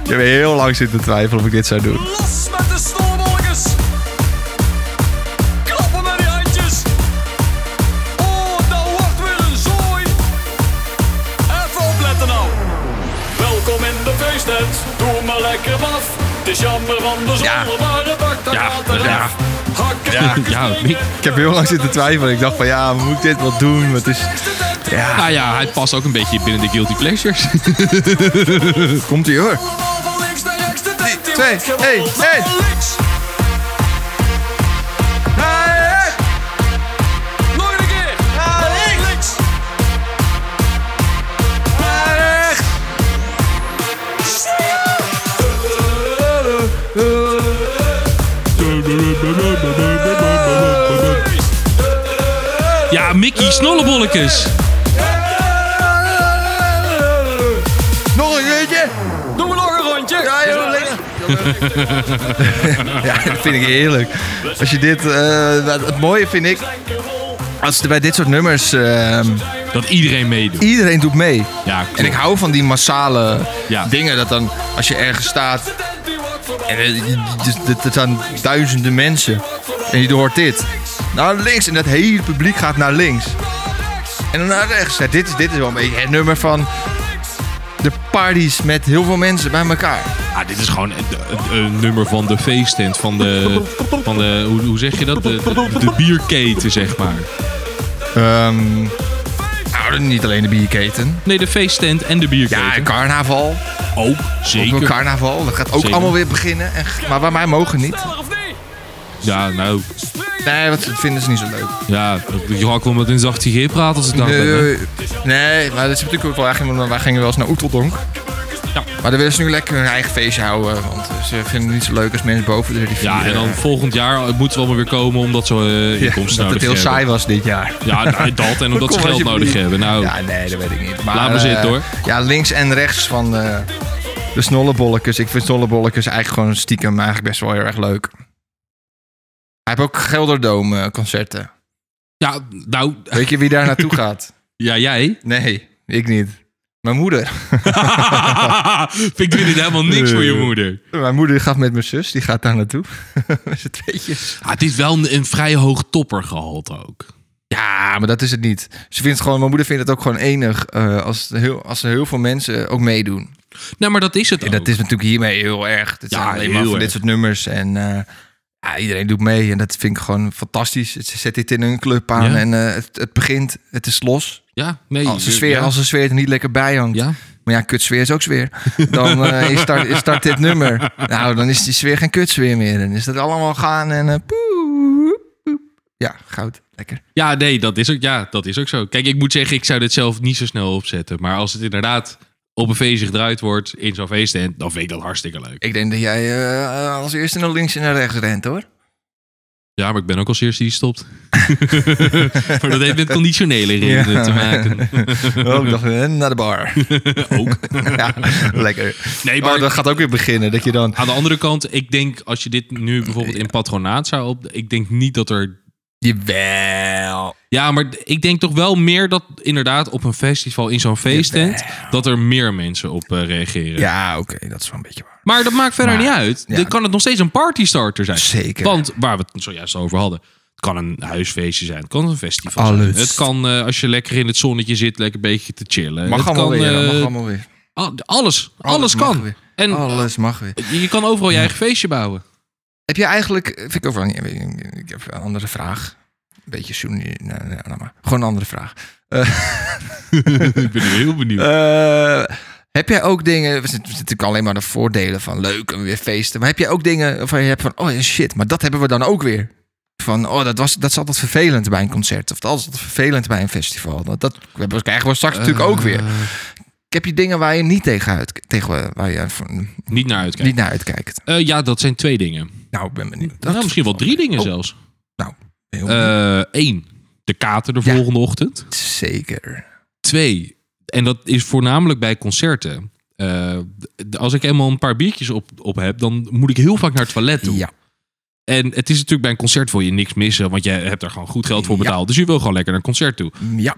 Ik heb heel lang zitten twijfelen of ik dit zou doen. Los met de stormolkers. Klappen met die handjes. Oh, dat wordt weer een zooi. Even opletten nou. Welkom in de feesttent. Doe maar lekker af. Het is jammer van de zon, maar de bak dat Ja, gaat eraf. ja. Hakken, Ja, hakken, ja, springen. ik- Ik heb heel lang zitten twijfelen. Ik dacht van ja, moet ik dit wat doen? Wat is... Ja, Nou ja, hij past ook een beetje binnen de Guilty Pleasures. [LAUGHS] komt ie hoor. Allemaal van links naar rechts, de tent die twee, wordt gewold. één, één. Naar links. Nog een keer. Naar links. Ja, Mickey, snollebollekes. Nog een keertje. Doen we nog een rondje? Ja, joh, lekker. [LAUGHS] ja, dat vind ik heerlijk. Als je dit, eh, wat- het mooie vind ik, als er bij dit soort nummers eh, Dat iedereen meedoet. iedereen doet mee. Ja, klopt. En ik hou van die massale Ja. dingen. Dat dan, als je ergens staat en eh, je- je- er staan duizenden mensen. En je hoort dit. Naar links. En dat hele publiek gaat naar links. En dan naar rechts. Ja, dit, is, dit is wel een beetje het nummer van de parties met heel veel mensen bij elkaar. Ah, dit is gewoon het- het- een nummer van de feesttent, van de, van de hoe, hoe zeg je dat? De, de, de bierketen, zeg maar. Ehm nou, niet alleen de bierketen. Nee, de feesttent en de bierketen. Ja, en carnaval. ook, Ook een zeker. carnaval. Dat gaat ook Zeker. allemaal weer beginnen. En, g- maar bij mij mogen niet. Sneller of niet? Ja, nou, Nee, want dat vinden ze niet zo leuk. ja, je had wel met een zachte G praten als ik daar ben. hè. Nee, nee, maar dat is natuurlijk ook wel eigenlijk, want wij gingen wel eens naar Oeteldonk. Maar daar willen ze nu lekker hun eigen feestje houden, want ze vinden het niet zo leuk als mensen boven de rivier. Ja, en dan eh, volgend jaar moet ze allemaal weer komen omdat ze eh, ja, inkomsten [LAUGHS] dat nou nodig het hebben. heel saai was dit jaar. Ja, nou, dat [LAUGHS] en omdat ze Kom geld alsjeblieft. nodig hebben. Nou, Ja, nee, dat weet ik niet. Maar, Laat maar eh, zitten, hoor. Ja, links en rechts van eh, de snollebolletjes. Ik vind snollebolletjes eigenlijk gewoon stiekem eigenlijk best wel heel erg leuk. Hij heeft ook Gelderdoom eh, concerten. ja, nou, Weet je wie [LAUGHS] daar naartoe gaat? ja, jij. [LAUGHS] Nee, ik niet. Mijn moeder. Vind ik dit helemaal niks voor je moeder. Mijn moeder gaat met mijn zus, die gaat daar naartoe. [LAUGHS] Met z'n tweetjes. Ah, het is wel een, een vrij hoog toppergehalte ook. Ja, maar dat is het niet. Ze vindt het gewoon, mijn moeder vindt het ook gewoon enig eh, als, er heel, als er heel veel mensen ook meedoen. Nou, maar dat is het En ook. dat is natuurlijk hiermee heel erg. Het Ja, zijn alleen maar heel van dit erg. soort nummers. En eh, ja, iedereen doet mee. En dat vind ik gewoon fantastisch. Ze zet dit in hun club aan Ja. en eh, het, het begint. Het is los. Ja, nee. Als de eh, sfeer, ja. als de sfeer er niet lekker bij hangt. Ja. Maar ja, kutsfeer is ook [LAUGHS] sfeer. Dan eh, is start, is start dit nummer. Nou, dan is die sfeer geen kutsfeer meer. Dan is dat allemaal gaan en... eh, poep, poep. Ja, goud. Lekker. Ja, nee, dat is, ook, ja, dat is ook zo. Kijk, ik moet zeggen, ik zou dit zelf niet zo snel opzetten. Maar als het inderdaad op een feestje gedraaid wordt in zo'n feesttent, dan vind ik dat hartstikke leuk. Ik denk dat jij eh, als eerste naar links en naar rechts rent, hoor. [LAUGHS] Ja, maar ik ben ook als eerste die stopt. [LAUGHS] maar dat heeft met conditionele redenen te maken. [LAUGHS] Oh, ik dacht, eh, naar de bar. [LAUGHS] ook. ja, lekker. Nee, maar Oh, dat gaat ook weer beginnen. Dat je dan... aan de andere kant, ik denk als je dit nu bijvoorbeeld in patronaat zou op... Ik denk niet dat er... Jawel. Ja, maar ik denk toch wel meer dat inderdaad op een festival in zo'n feesttent... dat er meer mensen op eh, reageren. Ja, oké, dat is wel een beetje waar. Maar dat maakt verder Maar, niet uit. ja. Dan kan het nog steeds een partystarter zijn. Zeker. Want waar we het zojuist over hadden. Het kan een huisfeestje zijn. Het kan een festival zijn. Alles. Het kan eh, als je lekker in het zonnetje zit, lekker een beetje te chillen. Mag het allemaal kan, weer, eh, mag allemaal weer. al- alles, alles. mag kan. weer. En Alles mag weer. je je kan overal je eigen feestje [LAUGHS] bouwen. Heb je eigenlijk, vind ik ook wel niet, ik heb een andere vraag. Een beetje zoen, nee, nee, nee, laat maar. Gewoon een andere vraag. Ik ben heel benieuwd. Eh, heb jij ook dingen, we zitten we zitten natuurlijk alleen maar de voordelen van leuk en weer feesten. Maar heb jij ook dingen waarvan je hebt van, oh ja, shit, maar dat hebben we dan ook weer. Van, oh, dat, was, dat is altijd vervelend bij een concert. Of dat is altijd vervelend bij een festival. Dat, dat krijgen we straks natuurlijk ook weer. Eh. Heb je dingen waar je niet tegen, uit, tegen waar je van- Eh, Niet naar uitkijken. niet naar uitkijkt? Eh, ja, dat zijn twee dingen. Nou, ik ben benieuwd. nou, misschien wel drie Eh. dingen zelfs. Nou, heel benieuwd. Eén, de kater de Ja. volgende ochtend. zeker. Twee, en dat is voornamelijk bij concerten. eh, d- als ik eenmaal een paar biertjes op, op heb, dan moet ik heel vaak naar het toilet toe. Ja. En het is natuurlijk bij een concert wil je niks missen, want jij hebt er gewoon goed geld voor Ja. betaald. Dus je wil gewoon lekker naar een concert toe. Ja.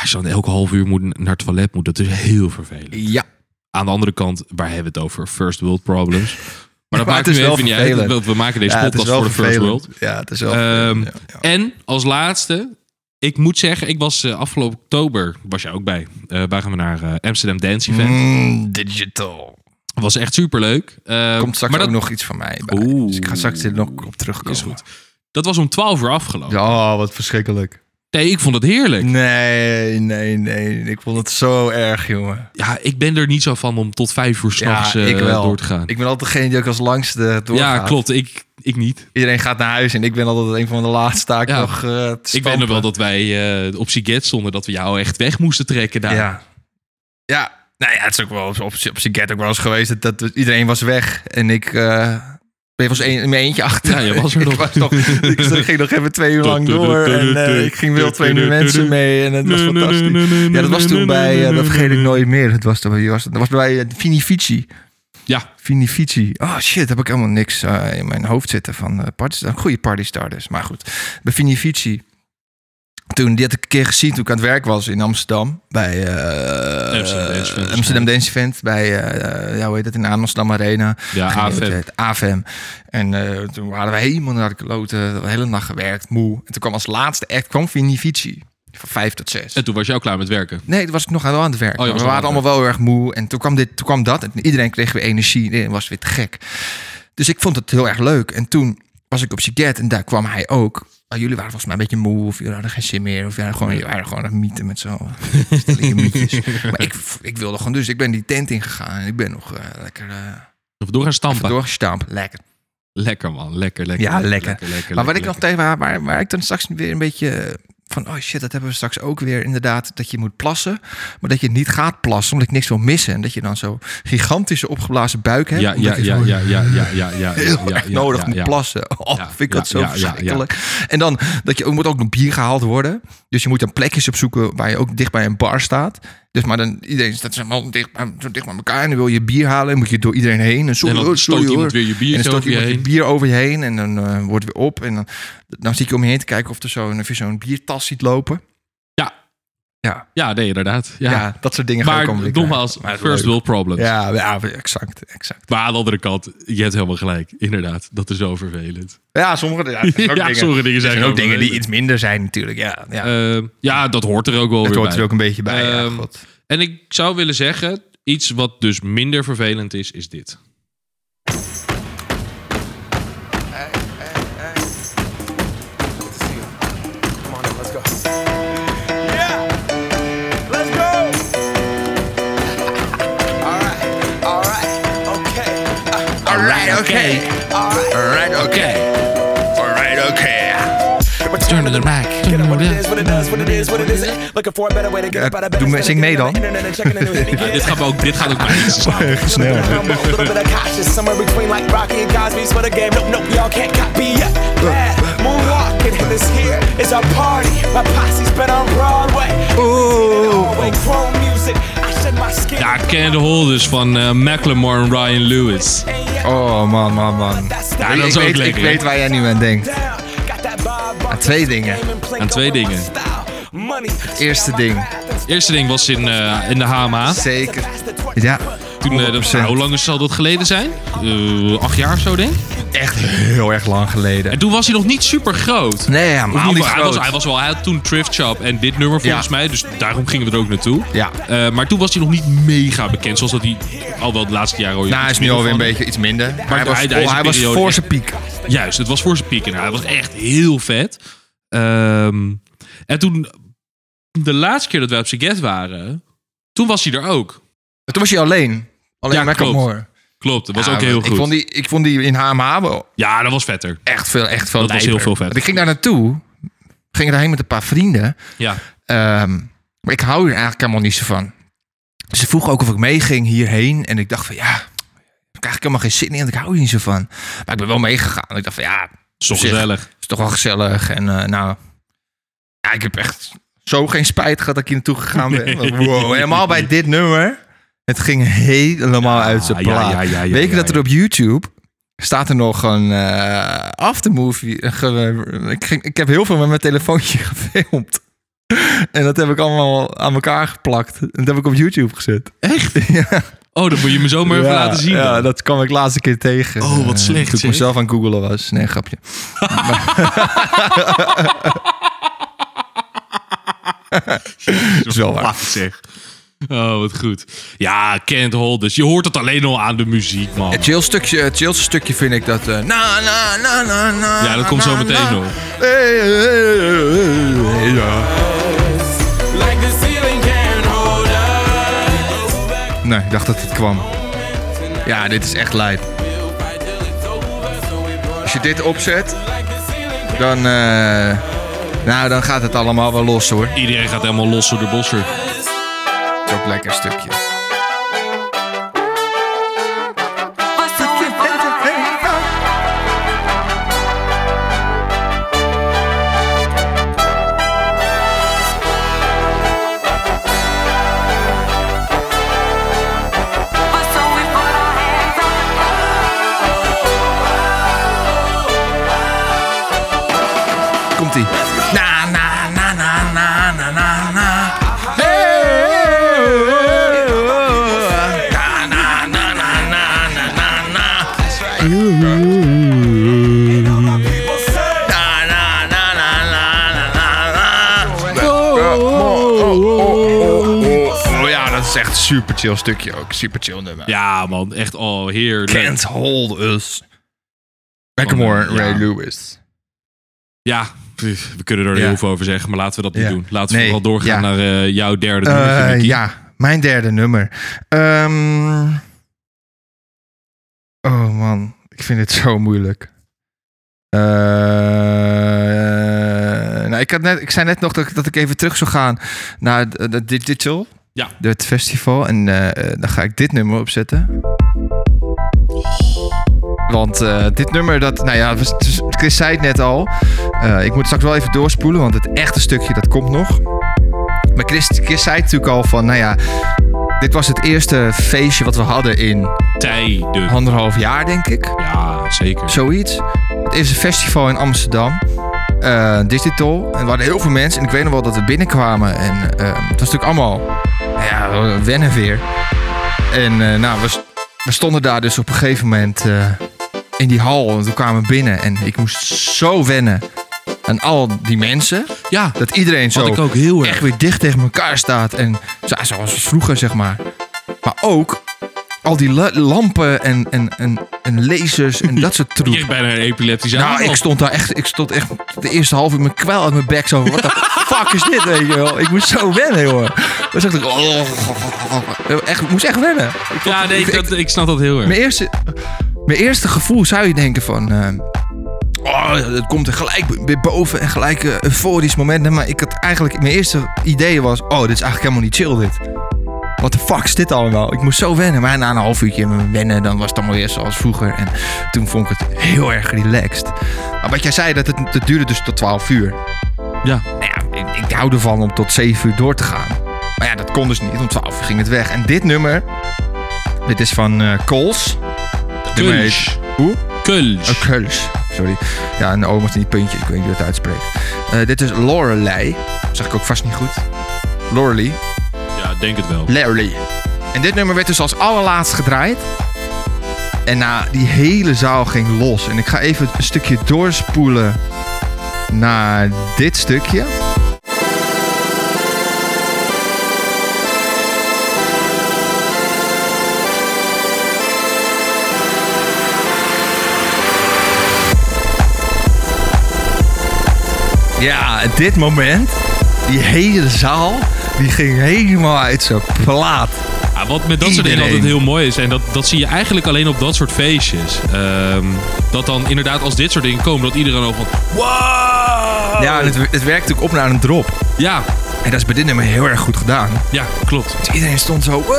Als je dan elke half uur moet naar het toilet moet, dat is heel vervelend. Ja. Aan de andere kant, waar hebben we het over? First world problems. Maar dat Maar maakt het is nu wel even niet uit. vervelend. want We maken deze ja, podcast voor de first world. Ja, het is wel Ehm, vervelend, ja, ja. En als laatste, ik moet zeggen, ik was eh, afgelopen oktober, was jij ook bij, eh waren we naar eh, Amsterdam Dance Event. Mm, eh, digital. Was echt superleuk. Eh, Komt straks maar dat, ook nog iets van mij bij. Oeh. Dus ik ga straks er nog op terugkomen. Is goed. Dat was om 12 uur afgelopen. Ja, Mm. wat verschrikkelijk. Nee, ik vond het heerlijk. Nee, nee, nee. Ik vond het zo erg, jongen. Ja, ik ben er niet zo van om tot 5 uur s'nachts eh, ik wel. door te gaan. Ik ben altijd degene die ook als langste ja, doorgaat. klopt. Ik, ik niet. Iedereen gaat naar huis en ik ben altijd een van de laatste taak Ja. nog eh, te Ik weet stampen. nog wel dat wij eh, op Siget stonden dat we jou echt weg moesten trekken daar. Ja. Ja. Nou ja, het is ook wel op, op, op Siget ook wel eens geweest. Dat, dat iedereen was weg en ik eh, je was een, in mijn eentje achter. Ja, je was er nog. [LAUGHS] ik, nog ik ging nog even twee uur lang door. En eh, ik ging wel twee nieuwe mensen mee. En het was fantastisch. Ja, dat was toen bij... eh, dat vergeet ik nooit meer. Dat was, toen- wie was, dat? Dat was bij eh, Vinifici. Ja, Vinifici. Oh shit, heb ik helemaal niks eh, in mijn hoofd zitten van eh party Goede party starters, maar goed. Bij Vinifici. Toen, die had ik een keer gezien toen ik aan het werk was in Amsterdam. Bij eh, Amsterdam Dance Event. Amsterdam Dance Event. Bij, eh ja, hoe heet dat, in de Amsterdam Arena. Ja, Geen idee AFM. hoe het heet. AFM. En eh, toen waren we helemaal naar de kloten. De hele nacht gewerkt, moe. En toen kwam als laatste act kwam Vinifici. Van vijf tot zes. en toen was jij ook klaar met werken. Nee, toen was ik nog aan aan het werk. Oh, je Maar was we nog waren aan allemaal het wel heel erg moe. En toen kwam, dit, toen kwam dat. En iedereen kreeg weer energie. En was weer te gek. Dus ik vond het heel erg leuk. En toen was ik op Siget en daar kwam hij ook. Ah, jullie waren volgens mij een beetje moe. Of jullie hadden geen zin meer. Of jullie waren gewoon, jullie waren gewoon aan het mieten met zo'n [LAUGHS] stelletje mietjes. Maar ik, ik wilde gewoon dus. Ik ben die tent ingegaan. En ik ben nog eh, lekker eh, Of door gaan even stampen. doorgestampt. Lekker. Lekker man, lekker, lekker. Ja, lekker. lekker, Maar wat ik lekker, nog tegen waar, waar, waar ik dan straks weer een beetje eh, van, oh shit, dat hebben we straks ook weer. Inderdaad, dat je moet plassen, maar dat je niet gaat plassen omdat je niks wil missen. En dat je dan zo gigantische opgeblazen buik hebt. Ja, ja, omdat je ja, zo ja, ja, ja, ja, ja. Heel ja, erg ja, nodig ja, moet ja. plassen. Oh, Ja, vind ik ja, dat zo ja, ja, verschrikkelijk. En dan dat je ook moet ook nog bier gehaald worden. Dus je moet dan plekjes opzoeken waar je ook dicht bij een bar staat. Dus maar dan iedereen staat zo helemaal dicht, bij- zo dicht bij elkaar en dan wil je bier halen en moet je door iedereen heen. En, sorry, En dan hoor, stoot sorry, iemand hoor. weer je biertje En dan stoot over je iemand heen. bier over je heen en dan eh, wordt het weer op. En dan, dan zie ik om je heen te kijken of, er zo, of je zo'n biertas ziet lopen. Ja, Ja, ja, nee, inderdaad. Ja. ja. dat soort dingen ga ik allemaal maar weer nogmaals, krijgen. Maar first leuk. world problems. Ja, ja, exact, exact. Maar aan de andere kant, je hebt helemaal gelijk. Inderdaad, dat is zo vervelend. Ja, sommige ja, [LAUGHS] dat zijn ook Ja, dingen. sommige dingen zijn Dat zijn gewoon ook dingen die vervelend. iets minder zijn natuurlijk. Ja, ja. Ehm, ja, dat hoort er ook wel het weer hoort bij. er ook een beetje bij. ja, Ehm, god. En ik zou willen zeggen, iets wat dus minder vervelend is, is dit. Alright, okay. Alright, okay. Alright, okay. Turn to the back. Ja, doe me- zing mee dan. Dit gaat me ook, dit gaat ook mij niet slaan. Snel. Ja, Can't Hold dus van eh Macklemore en Ryan Lewis. Oh man, man, man. Ja, dat is ik ook weet, lekker, hè? Ik weet waar jij nu aan denkt. Aan twee dingen. Aan twee dingen. Eerste ding. Eerste ding was in, eh, in de HMA. Zeker. Ja. Toen, eh, dat, 100%. nou, hoe lang is- zal dat geleden zijn? Eh, acht jaar of zo, denk ik. Echt heel erg lang En geleden. toen was hij nog niet super groot. Nee, helemaal niet Hij was, hij groot. was wel, hij had toen Thrift Shop en dit nummer volgens Ja. mij. Dus daarom gingen we er ook naartoe. Ja. Eh, maar toen was hij nog niet mega bekend. Zoals dat hij al wel de laatste jaren al Nou, hij is nu minder alweer een van- beetje iets minder. Maar hij was, hij- hij vol- is een hij was periode voor echt- zijn piek. Juist, het was voor zijn piek. En hij was echt heel vet. Ehm, en toen, de laatste keer dat wij op Siget waren, toen was hij er ook. Toen was hij alleen. Alleen Ja, ja, klopt. Macklemore. Klopt, dat was Ja, ook heel Nou, ik goed. Vond die, ik vond die in HMH wel Ja, dat was vetter. echt veel, echt veel Dat was lijper. heel veel vet. Want ik ging daar naartoe. Ging daarheen met een paar vrienden. Ja. Ehm, maar ik hou hier eigenlijk helemaal niet zo van. Ze vroeg ook of ik meeging hierheen. En ik dacht van ja, ik krijg ik helemaal geen zin in. Want ik hou hier niet zo van. Maar ik ben wel meegegaan. Ik dacht van ja, Is toch Op zich. gezellig. is toch wel gezellig. En eh, nou, ja, ik heb echt zo geen spijt gehad dat ik hier naartoe gegaan [LAUGHS] ben. Want, Wow, helemaal bij dit nummer. Het ging helemaal uit zijn ja, plaat. ja, ja, ja, Weet je ja, dat ja. er op YouTube staat er nog een eh, aftermovie? een ge- Ik, ging- ik heb heel veel met mijn telefoontje [LAUGHS] gefilmd. En dat heb ik allemaal aan elkaar geplakt. En dat heb ik op YouTube gezet. Echt? [LAUGHS] Ja, Oh, dat moet je me zomaar even Ja, laten zien. Ja, dan. dat kwam ik laatste keer tegen. Oh, wat Eh, slecht, Toen ik zeg. mezelf aan het googelen was. Nee, grapje. Zo waar. Laat het zeg. Oh, wat goed. Ja, Kent Holders. Je hoort het alleen al aan de muziek, man. Het chillste stukje, het chillste stukje vind ik dat... eh, na, na, na, na, na, Ja, dat komt na, zo meteen na. Eh, nog. Hey, hey, hey, hey, hey, eh, ja. Nee, ik dacht dat het kwam. Ja, dit is echt lijp. Als je dit opzet, dan, eh, nou, dan gaat het allemaal wel los hoor. Iedereen gaat helemaal los door de bosser. Dat is ook een lekker stukje. Oh ja, dat is echt een super chill stukje ook. Super chill nummer. dus. Ja, man. Echt, oh, heerlijk. Can't hold us. Macklemore, Ja. Ray Lewis. Ja, pff, we kunnen er Ja. heel veel over zeggen, maar laten we dat niet Ja. doen. Laten we Nee, vooral doorgaan ja. naar eh, jouw derde Eh, nummertje, Mickey. ja, mijn derde nummer. Ehm, oh man, ik vind het [LAUGHS] zo moeilijk. Eh, nou, ik, had net, ik zei net nog dat, ik- dat ik even terug zou gaan naar de, de Digital. Ja. Het festival. En eh, eh, dan ga ik dit nummer opzetten. Want eh, dit nummer, dat, nou ja, was- Chris zei het net al. Eh, ik moet straks wel even doorspoelen, want het echte stukje dat komt nog. Maar Chris, Chris zei natuurlijk al van, nou ja, dit was het eerste feestje wat we hadden in Tijden. anderhalf jaar, denk ik. Ja, zeker. Zoiets. Het is een festival in Amsterdam. eh, digital. En er waren heel veel mensen. En ik weet nog wel dat we binnenkwamen. En eh, het was natuurlijk allemaal nou ja, wennen weer. En eh, nou, we, st- we stonden daar dus op een gegeven moment eh, in die hal. En toen kwamen we binnen. En ik moest zo wennen aan al die mensen. Ja, Dat iedereen zo had ik ook heel erg. echt weer dicht tegen elkaar staat. En zo- zoals vroeger, zeg maar. Maar ook al die la- lampen en, en, en, en lasers en dat soort [LAUGHS] Je hebt troep. bijna een epileptische Nou, aanval. ik stond daar echt, ik stond echt de eerste half uur mijn kwel uit mijn bek [LAUGHS] zo. Wat de fuck is dit, weet je wel? Ik moest zo wennen, joh. Dan zag ik, oh, echt, ik moest echt wennen. Ja, nee, ik, dat, ik snap dat heel erg. Mijn eerste, mijn eerste gevoel zou je denken van... eh, oh, het komt er gelijk weer boven en gelijk een euforisch moment. Nee, maar ik had eigenlijk... Mijn eerste idee was... Oh, dit is eigenlijk helemaal niet chill dit. What the fuck is dit allemaal? Ik moest zo wennen. Maar na een half uurtje wennen, dan was het allemaal weer zoals vroeger. En toen vond ik het heel erg relaxed. Maar wat jij zei, dat het, het duurde dus tot 12 uur. Ja. Nou ja, ik, ik hou ervan om tot 7 uur door te gaan. Maar ja, dat kon dus niet. Om 12 uur ging het weg. En dit nummer... Dit is van eh Coles. Het nummer heet- Kulsch. Hoe? Kulsch. Oh, Keuls. Sorry. Ja, en de oom was in die puntje. Ik weet niet hoe het uitspreekt. Eh, dit is Lorelei. Dat zeg ik ook vast niet goed. Lorelei. Ja, denk het wel. Lorelei. En dit nummer werd dus als allerlaatst gedraaid. En nou, die hele zaal ging los. En ik ga even een stukje doorspoelen naar dit stukje. Ja, dit moment. Die hele zaal. Die ging helemaal uit zijn plaat. Ja, Ah, wat met dat soort dingen Iedereen. altijd heel mooi is, en dat, dat zie je eigenlijk alleen op dat soort feestjes. Ehm, dat dan inderdaad als dit soort dingen komen, dat iedereen ook van... Wow! Ja, en het, het werkt natuurlijk op naar een drop. Ja, En dat is bij dit nummer heel erg goed gedaan. ja, klopt. Dus iedereen stond zo, wow,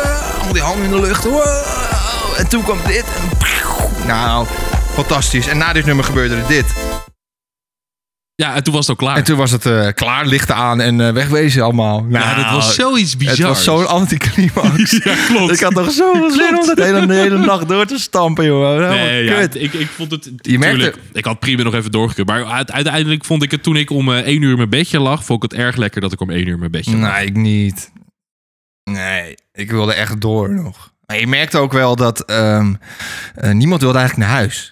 al die handen in de lucht. wow. En toen kwam dit. En pff, nou, fantastisch. En na dit nummer gebeurde er dit. Ja, en toen was het al klaar. En toen was het eh, klaar, lichten aan en eh, wegwezen allemaal. Nou, ja, dat was zoiets bizar. Het was zo'n [LAUGHS] anticlimax. [LAUGHS] Ja, klopt. Ik had toch [LAUGHS] zoveel zin om dat hele, de hele nacht door te stampen, jongen. Helemaal Nee, ja, kut. ik, ik vond het. Je merkte- tuurlijk, Ik had prima nog even doorgekund. Maar uit- uiteindelijk vond ik het toen ik om eh, één uur in mijn bedje lag. Vond ik het erg lekker dat ik om één uur in mijn bedje lag. Nee, ik niet. Nee, ik wilde echt door nog. Maar je merkte ook wel dat ehm, eh, niemand wilde eigenlijk naar huis.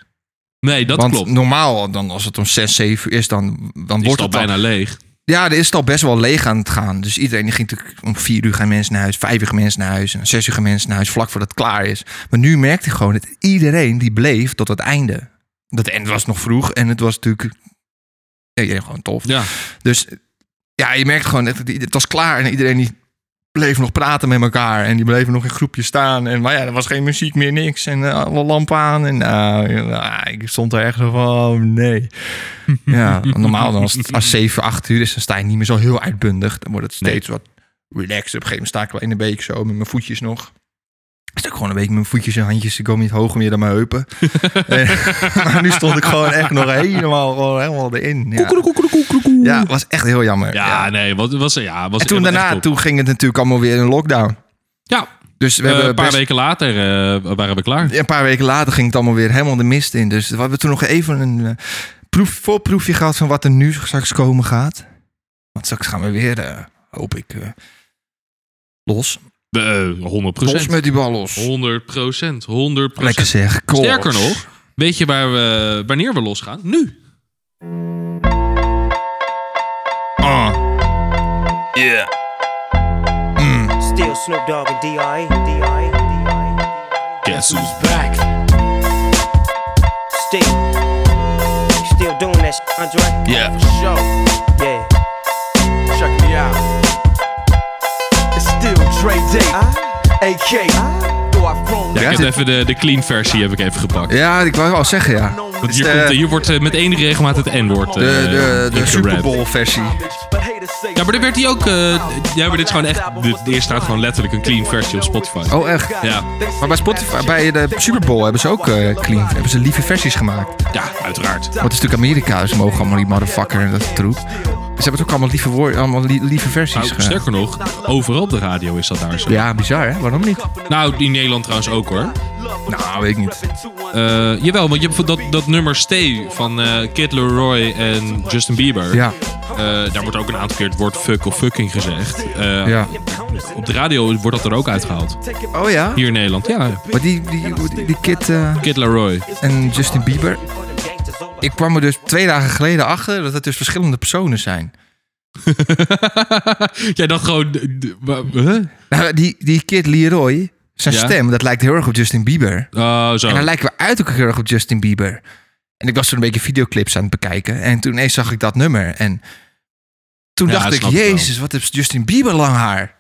Nee, dat Want klopt. normaal, dan, als het om 6, 7 uur is, dan, dan Die is wordt al het dan- bijna leeg. Ja, er is het al best wel leeg aan het gaan. Dus iedereen die ging natuurlijk om 4 uur gaan mensen naar huis, 5 uur gaan mensen naar huis, en 6 uur gaan mensen naar huis, vlak voordat het klaar is. Maar nu merkte ik gewoon dat iedereen die bleef tot het einde. Dat en het was nog vroeg en het was natuurlijk. Ja, iedereen gewoon tof. Ja. Dus ja, je merkt gewoon, echt dat ieder- het was klaar en iedereen die bleef nog praten met elkaar. En die bleven nog in groepjes staan. En, maar ja, er was geen muziek meer, niks. En eh, alle lampen aan. En nou, ja, ik stond er echt zo van, oh nee. ja, want normaal dan als het als 7, 8 uur is, dan sta je niet meer zo heel uitbundig. Dan wordt het steeds wat relaxed. Op een gegeven moment sta ik wel in de week zo met mijn voetjes nog. Ik ook gewoon een beetje met mijn voetjes en handjes. Ik kom niet hoger meer dan mijn heupen. En- [LAUGHS] maar nu stond ik gewoon echt nog helemaal, gewoon helemaal erin. Ja. Ja, het was echt heel jammer. Ja, nee, wat was ja, was En toen was echt daarna, top. toen ging het natuurlijk allemaal weer in lockdown. Ja, Dus we eh, hebben een paar best- weken later eh, waren we klaar. een paar weken later ging het allemaal weer helemaal de mist in. Dus we hebben toen nog even een eh, proef, voorproefje gehad van wat er nu straks komen gaat. Want straks gaan we weer, eh, hoop ik, eh, los. Eh, 100 Los met die bal los. 100 100 dus- Lekker zeg. Kool. Sterker nog, weet je waar we, wanneer we losgaan? Nu. Ah. Yeah. Still Snoop Dogg and D.I. Guess who's Back. Still. Still doing that shit, Andre. Yeah. Show. Yeah. Check me out. It's still Dre Day. AK. Though I've grown Ja, ik Ja, heb dit- even de, de clean versie heb ik even gepakt. Ja, ik wou al zeggen, ja. Want Dus hier, de- komt, eh, hier wordt eh, met enige regelmaat het N-woord eh, De, de, de ingerapt. Super Bowl versie. Ja, maar dit werd hij ook... eh, ja, maar dit is gewoon echt... De, de eerste staat gewoon letterlijk een clean versie op Spotify. Oh, echt? Ja. Maar bij, Spotify, bij de Super Bowl hebben ze ook eh, clean. Hebben ze lieve versies gemaakt. Ja, uiteraard. Want het is natuurlijk Amerika, ze mogen allemaal die motherfucker en dat troep. Dus ze hebben het ook allemaal lieve, woor- allemaal li- lieve Nou, versies gemaakt. sterker nog, overal op de radio is dat daar zo. Ja, bizar hè? Waarom niet? Nou, in Nederland trouwens ook hoor. Nou, weet ik niet. Eh, jawel, want je hebt dat, dat nummer Stay van eh, Kid Leroy en Justin Bieber. Ja, Eh, daar wordt ook een aantal keer het woord fuck of fucking gezegd. Eh, ja. Op de radio wordt dat er ook uitgehaald. Oh ja? Hier in Nederland, ja. Maar die, die, die, die kid eh, Kid Leroy. [LAUGHS] en Justin Bieber. Ik kwam er dus twee dagen geleden achter dat het dus verschillende personen zijn. Jij dacht gewoon... d- d- wa- huh? Nou, die, die kid Leroy, zijn Ja? stem, dat lijkt heel erg op Justin Bieber. Oh, zo. En hij lijkt weer uit elkaar heel erg op Justin Bieber. En ik was toen een beetje videoclips aan het bekijken. En toen ineens zag ik dat nummer. En toen Ja, dacht dat ik, snap ik wel. jezus, wat heeft Justin Bieber lang haar.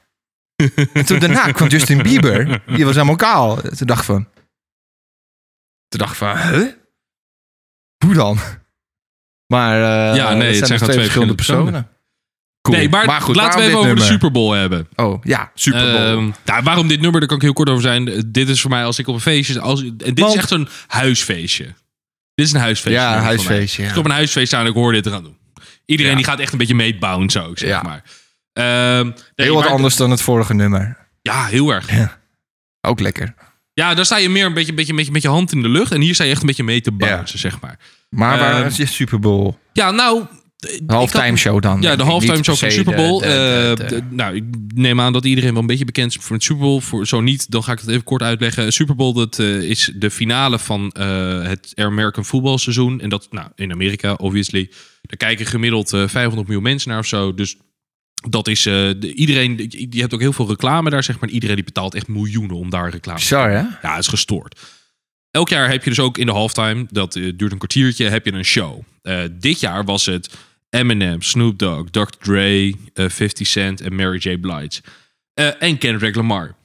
en toen daarna [LAUGHS] kwam Justin Bieber. Die was helemaal kaal. Toen dacht ik van... Toen dacht ik van, huh? Hoe dan? Maar eh, Ja, nee, dat het zijn dus gewoon twee verschillende Cool. Nee, maar, goed, laten we even waarom over dit de nummer? Super Bowl hebben. Oh, ja, Super Bowl. Ehm, nou, waarom dit nummer? Daar kan ik heel kort over zijn. Eh, Dit is voor mij als ik op een feestje. Als, en dit is Want- echt een huisfeestje. Dit is een huisfeestje. Ja, een nummer voor mij. huisfeestje, ja. Als ik op een huisfeest staan en ik hoor dit te gaan doen. Iedereen die gaat echt een beetje meetbouwen, zo ik zeg Ja. maar. Ehm, nee, heel wat maar- anders dan het vorige nummer. Ja, heel erg. Ook lekker. Ja, daar sta je meer een beetje, beetje, beetje met je hand in de lucht. En hier sta je echt een beetje mee te bouncen, zeg maar. Maar waar Ehm, is je Super Bowl? Ja, nou... Halftime show. show dan. Ja, denk de ik. halftime Niet show van de per se Super Bowl. de- de- de- Eh, de- d- nou, ik neem aan dat iedereen wel een beetje bekend is voor de Super Bowl. Voor, zo niet, dan ga ik het even kort uitleggen. Super Bowl dat, eh, is de finale van eh, het American voetbalseizoen. En dat nou, in Amerika, obviously. Daar kijken gemiddeld eh, 500 miljoen mensen naar of zo. Dus dat is eh, de- iedereen. Je hebt ook heel veel reclame daar, zeg maar. En Iedereen die betaalt echt miljoenen om daar reclame te Bizar, hè? ja, het is gestoord. Elk jaar heb je dus ook in de halftime, dat eh, duurt een kwartiertje, heb je een show. Eh, dit jaar was het Eminem, Snoop Dogg, Dr. Dre, eh, 50 Cent en Mary J. Blige. Eh, en Kendrick Lamar.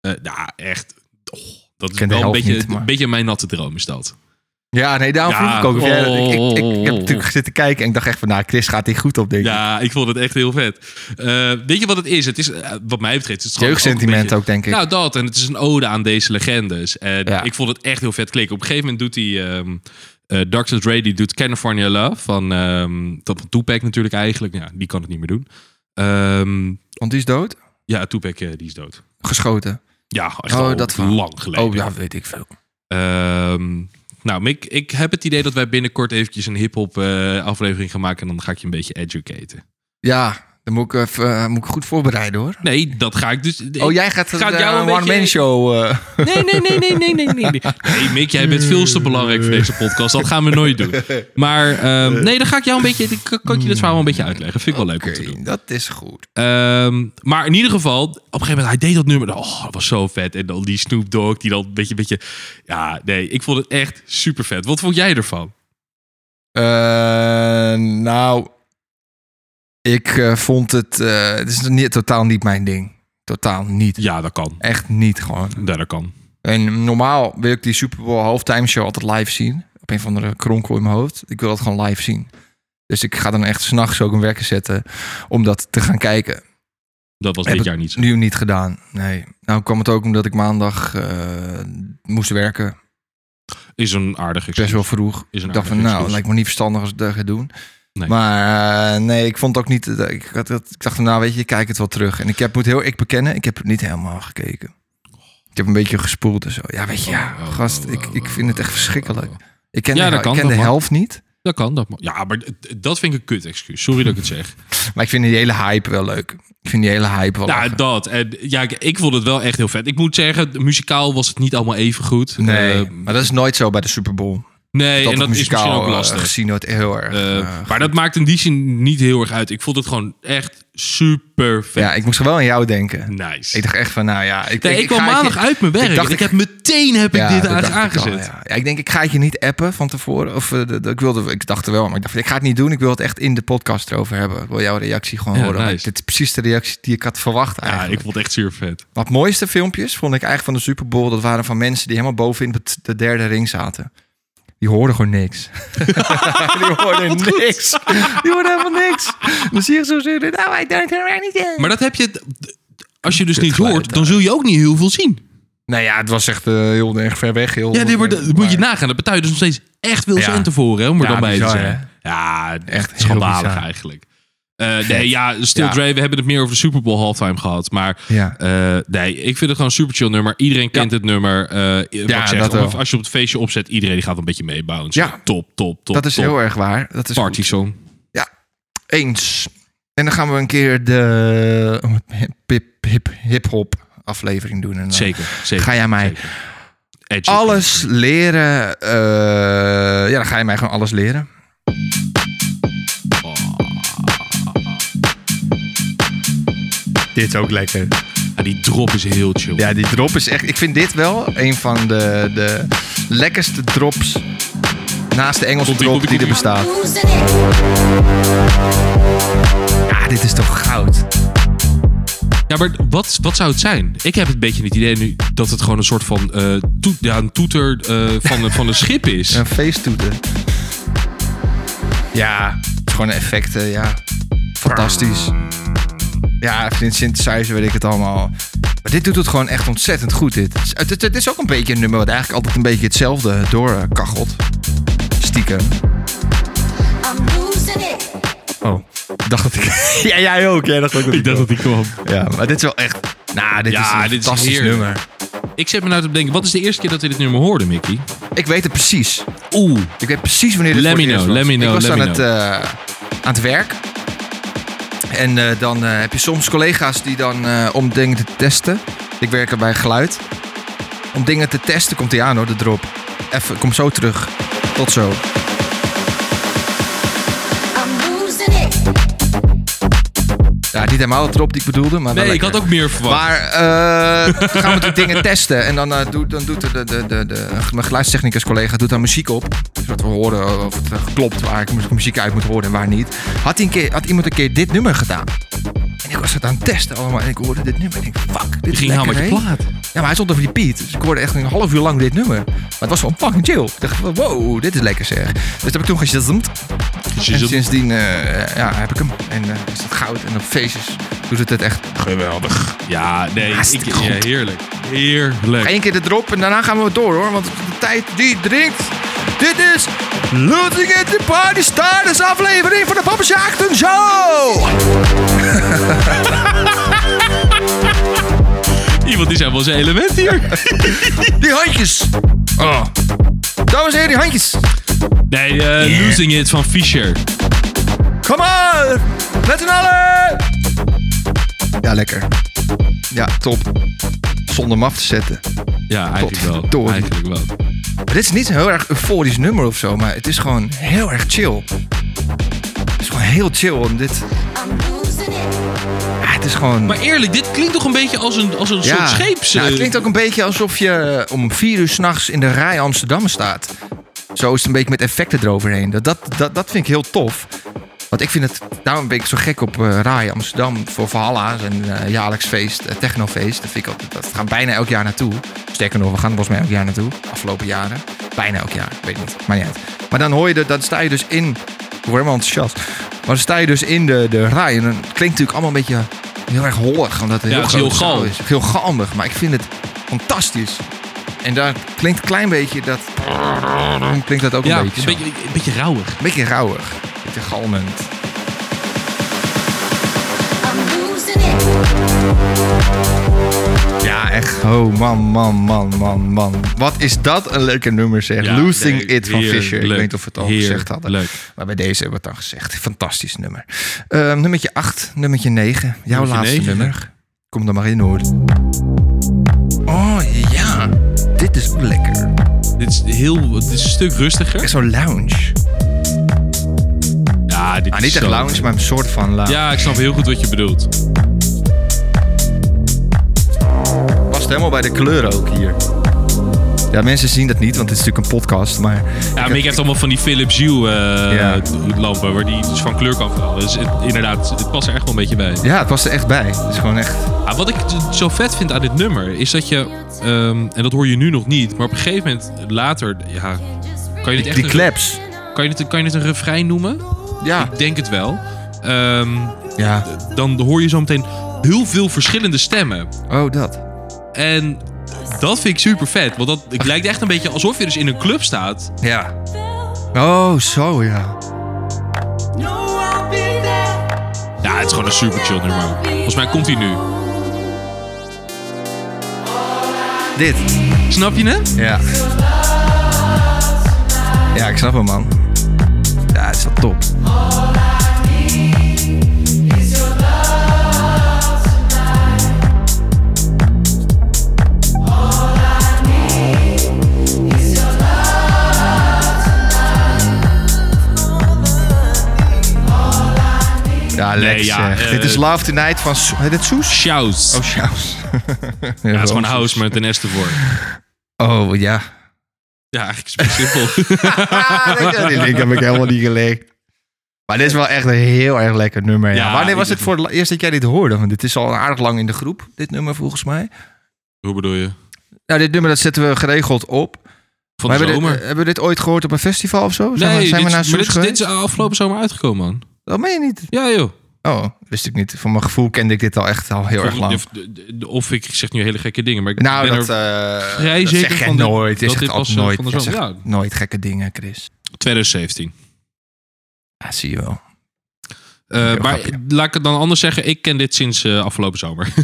Eh, nou, echt. oh, dat is ken de wel een helft beetje, niet, maar- een beetje mijn natte droom is dat. Ja, nee, daarom Ja. vroeg ik ook. of jij- ik, ik, ik heb Oh. natuurlijk zitten kijken en ik dacht echt van, nou, Chris gaat hier goed op, denk ik. Ja, ik vond het echt heel vet. Eh, weet je wat het is? Het is, eh, wat mij betreft, het is gewoon Jeugdsentiment een beetje- ook, denk ik. Nou, dat. En het is een ode aan deze legendes. En Ja. ik vond het echt heel vet klikken. Op een gegeven moment doet hij... ehm eh, Dr. Dre die doet California Love van, ehm dat van Tupac natuurlijk eigenlijk. Ja, die kan het niet meer doen. Ehm, Want die is dood? ja, Tupac eh, die is dood. Geschoten. Ja, echt Oh, al dat verhaal. lang geleden. Oh, ja, weet ik veel. Ehm, nou, Mick, ik heb het idee dat wij binnenkort eventjes een hip-hop eh, aflevering gaan maken. En dan ga ik je een beetje educaten. Ja, dan moet ik, even, eh, moet ik goed voorbereiden, hoor. Nee, dat ga ik dus. Oh, jij gaat, Gaat eh, jou een een one-man beetje- show... eh, Nee, nee, nee, nee, nee, nee, nee. Nee, Mick, jij bent veel te belangrijk voor deze podcast. Dat gaan we nooit doen. Maar ehm, nee, dan ga ik jou een beetje. dan kan- Kan ik je dit verhaal wel een beetje uitleggen? Vind ik wel leuk om te doen. Oké, dat is goed. Ehm, maar in ieder geval, op een gegeven moment, hij deed dat nummer. Oh, dat was zo vet. En dan die Snoop Dogg, die dan een beetje, beetje. Ja, nee, ik vond het echt super vet. Wat vond jij ervan? Eh, nou, ik eh, vond het... eh, het is niet, totaal niet mijn ding. Totaal niet. Ja, dat kan. Echt niet, gewoon. Ja, dat kan. En normaal wil ik die Super Bowl halftime show altijd live zien. Op een of andere kronkel in mijn hoofd. Ik wil dat gewoon live zien. Dus ik ga dan echt s'nachts ook een wekker zetten om dat te gaan kijken. Dat was Heb dit ik jaar niet zo. Nu niet gedaan. Nee. Nou kwam het ook omdat ik maandag eh, moest werken. Is een aardig Best excuus. wel vroeg. Is een Ik dacht van, aardig nou, excuus. lijkt me niet verstandig als ik dat ga doen. Nee. Maar eh, nee, ik vond het ook niet... Ik, had, dat- ik dacht, nou weet je, ik kijk het wel terug. En ik heb, moet heel ik bekennen, ik heb het niet helemaal gekeken. Ik heb een beetje gespoeld en zo. Ja, weet je, ja, Oh, oh, gast, oh, ik, oh, ik vind het echt verschrikkelijk. Ik ken Ja, de, dat ik kan, ken dat de mag. helft niet, Dat kan. Dat mag. Ja, maar d- dat vind ik een kut excuus. Sorry dat ik het zeg. maar ik vind die hele hype wel leuk. Ik vind die hele hype wel Nou, lachen. dat. En, ja, ik, ik vond het wel echt heel vet. Ik moet zeggen, muzikaal was het niet allemaal even goed. Nee, Eh, maar dat is nooit zo bij de Super Bowl. Nee, dat en dat het is misschien muzikaal, ook eh, lastig. gezien nooit heel erg. Eh, eh, maar dat maakt in die zin niet heel erg uit. Ik vond het gewoon echt super vet. ja, ik moest wel aan jou denken. nice. Ik dacht echt van, nou ja... Ik, Nee, ik, kwam ga het je- maandag uit mijn werk. Ik, dacht, heb meteen heb ik Ja, dit dat dacht ik al, aangezet. ja. Ja, ik denk, ik ga het je niet appen van tevoren. Of, eh, dat- dat- ik, wilde, ik dacht er wel, maar ik dacht, ik ga het niet doen. Ik wil het echt in de podcast erover hebben. Ik wil jouw reactie gewoon Ja, horen. nice. Want Dit is precies de reactie die ik had verwacht Ja, eigenlijk. ik vond het echt super vet. Wat mooiste filmpjes vond ik eigenlijk van de Super Bowl. Dat waren van mensen die helemaal bovenin het- de derde ring zaten. Die hoorden gewoon [LAUGHS] niks. die hoorden niks. Die hoorden helemaal niks. Dan zie je zo zitten. Nou, I don't know anything. Maar dat heb je... Als je dus Dit niet geluid hoort, daar. dan zul je ook niet heel veel zien. Nou ja, het was echt eh, heel erg ver weg. Heel, Ja, nee, maar dat maar- moet je nagaan. Dat betuigt dus nog steeds echt veel centen voor, hè, om er Ja, dan bij te bizar, zijn. Ja, Echt echt heel schandalig bizar. eigenlijk. Eh, nee, ja, Still Ja. Dre, we hebben het meer over de Super Bowl halftime gehad. Maar Ja. eh, nee, ik vind het gewoon een super chill nummer. Iedereen kent het nummer. Eh, wat ik zeg, dat wel. of als je op het feestje opzet, iedereen die gaat een beetje meebouncen. Ja. Top, top, top. dat is top. heel erg waar. Dat is Party song. Eens. En dan gaan we een keer de hip, hip, hip, hip-hop aflevering doen. En dan Zeker, zeker. Ga jij mij zeker. Edgy. alles leren. eh, ja, dan ga je mij gewoon alles leren. Dit is ook lekker. Ja, die drop is heel chill. Ja, die drop is echt... Ik vind dit wel een van de, de lekkerste drops naast de Engelse Komt-ie, drop komt-ie, die er komt-ie. bestaat. Losing it. Ja, dit is toch goud. Ja, maar wat, wat zou het zijn? Ik heb een beetje het idee nu dat het gewoon een soort van eh, toet- ja, een toeter eh, van, een- van een schip [LAUGHS] is. Een feesttoeter. Ja, het is gewoon effecten, ja. Fantastisch. Ja, vind synthesizer, weet ik het allemaal. Maar dit doet het gewoon echt ontzettend goed, dit. Het is- Het, het, het is ook een beetje een nummer wat eigenlijk altijd een beetje hetzelfde doorkachelt. Stiekem. I'm losing it. Oh, ik dacht dat ik... [LAUGHS] ja, jij ook. Jij dacht ook dat ik... dat die kwam. Ja, maar dit is wel echt... Nou, dit Ja, is een dit is fantastisch heerlijk. nummer. Ik zet me nou te bedenken, wat is de eerste keer dat we dit nummer hoorden, Mickey? Ik weet het precies. Oeh. Ik weet precies wanneer dit Let voor me het eerst know, was. let me know, Ik was let aan me het, eh, aan het werk. En eh, dan eh, heb je soms collega's die dan eh, om dingen te testen. Ik werk er bij geluid. Om dingen te testen komt hij aan hoor, de drop. Even, ik kom zo terug. Tot zo. I'm losing it. Ja, niet helemaal de drop die ik bedoelde, maar wel Nee, ik lekker. had ook meer verwacht. Maar eh, dan gaan we die dingen testen. En dan, eh, doet- dan doet de, de, de, de, de, mijn geluidstechnicus collega doet daar muziek op. Zodat we horen of het eh, klopt waar ik mu- muziek uit moet horen en waar niet. Had, die een keer, had iemand een keer dit nummer gedaan. En ik was het aan het testen allemaal. En ik hoorde dit nummer. En ik fuck, dit Je is ging helemaal lekker, met je hè? plaat. Ja, maar hij stond op repeat. Dus ik hoorde echt een half uur lang dit nummer. Maar het was wel fucking chill. Ik dacht, van, wow, dit is lekker zeg. Dus dat heb ik toen gezond. En sindsdien eh, ja, heb ik hem. En eh, is dat goud. En op feestjes doet het het echt Ja, nee, ik, Hartstikke ja, goed. heerlijk. Heerlijk. Eén keer de drop en daarna gaan we door hoor. Want de tijd die dringt. Dit is Looting at the Party Starters aflevering van de Papa Schachten Show. Iemand is helemaal zijn element hier. Die handjes. Oh. Dames en heren, die handjes. Nee, eh, Losing It van Fisher. Come on. Met z'n allen. Ja, lekker. Ja, top. Zonder hem af te zetten. Ja, eigenlijk wel. Potverdorie. Eigenlijk wel. Maar dit is niet een heel erg euforisch nummer of zo. Maar het is gewoon heel erg chill. Het is gewoon heel chill. En dit, I'm losing it. ja, het is gewoon... Maar eerlijk, dit klinkt toch een beetje als een, als een soort scheeps... Ja, Nou, het eh, klinkt ook een beetje alsof je eh, om vier uur s'nachts in de rij Amsterdam staat. Zo is het een beetje met effecten eroverheen. Dat, dat, dat, dat vind ik heel tof. Want ik vind het, daarom ben ik zo gek op eh RAI Amsterdam voor Valhalla. Een eh, jaarlijks feest, eh, technofeest. Dat, vind ik altijd, dat gaan we bijna elk jaar naartoe. Sterker nog, we gaan er volgens mij elk jaar naartoe. Afgelopen jaren. Bijna elk jaar, ik weet niet. Maar niet uit. Maar dan hoor je, de, dan sta je dus in... Ik word helemaal enthousiast. Maar dan sta je dus in de, de RAI. En dan klinkt het natuurlijk allemaal een beetje heel erg hollig. Omdat het Ja, heel, het is heel groot zaal gal. is. Heel galmig. Maar ik vind het fantastisch. En daar klinkt een klein beetje dat... Klinkt dat ook ja, een beetje zo. een beetje, een beetje rauwig. Een beetje rauwig. Een beetje galmend. I'm losing it. Ja, echt. Oh, man, man, man, man, man. Wat is dat een leuke nummer, zeg. Ja, Losing nee, It van heerlijk, Fisher. Ik weet niet of we het al gezegd hadden. heerlijk. Maar bij deze hebben we het dan gezegd. Fantastisch nummer. Eh, nummertje 8, nummertje 9. Jouw Nummertje laatste negen. nummer. Kom er maar in, hoor. Oh, ja. Dit is ook lekker. Dit is, heel, dit is een stuk rustiger. Echt zo'n lounge. Ja, dit Ah, is niet echt zo- lounge, maar een soort van lounge. Ja, ik snap heel goed wat je bedoelt. Past helemaal bij de kleuren ook hier. Ja, mensen zien dat niet, want dit is natuurlijk een podcast, maar... Ja, Mick heeft allemaal van die Philips Hue eh, Ja. lampen, waar die dus van kleur kan veranderen. Dus het- inderdaad, het past er echt wel een beetje bij. Ja, het past er echt bij. Het is gewoon echt... Ah, wat ik t- zo vet vind aan dit nummer, is dat je, ehm, en dat hoor je nu nog niet, maar op een gegeven moment later, ja, kan je dit echt Die een- claps. Kan je, dit, kan je dit een refrein noemen? Ja. Ik denk het wel. Ehm, Ja. dan hoor je zo meteen heel veel verschillende stemmen. Oh, dat. En dat vind ik super vet. Want dat, het lijkt echt een beetje alsof je dus in een club staat. Ja. Oh, zo ja. Ja, het is gewoon een super chill nummer. Volgens mij komt hij nu. Dit. Snap je het? Ja. Ja, ik snap hem, man. Ja, het is wel top. Ja, lekker ja, zeg. eh, Dit is Love Tonight van... Soes- Heet dit Soes? Shouts. Oh, Sjaus. [LAUGHS] ja, ja, het is gewoon house met een S ervoor. Oh, ja. Ja, eigenlijk is het [LAUGHS] simpel. [LAUGHS] Ah, ik heb ik helemaal niet gelegd. Maar dit is wel echt een heel erg lekker nummer. Ja. Ja, Wanneer was ik- het voor het eerst dat jij dit hoorde? Want dit is al aardig lang in de groep, dit nummer volgens mij. Hoe bedoel je? Nou, dit nummer dat zetten we geregeld op. Van Maar de hebben, we zomer? dit, hebben we dit ooit gehoord op een festival of zo? Zijn nee, we, zijn dit, we naar is- maar Soes dit, is- dit geweest? is afgelopen zomer uitgekomen, man. Dat meen je niet. Ja, joh. Oh, wist ik niet. Voor mijn gevoel kende ik dit al echt al heel erg lang. Of, of ik zeg nu hele gekke dingen, maar ik Nou, ben dat, er eh, vrij dat zeker zeg jij van dat- nooit. Je dat zegt dit altijd pas, eh, nooit. van de Je zomer- zegt ja. nooit gekke dingen, Chris. 2017. Ja, zie je wel. Eh, Heel maar grappig, laat ik het dan anders zeggen. Ik ken dit sinds eh, afgelopen [LAUGHS] zomer. [LAUGHS]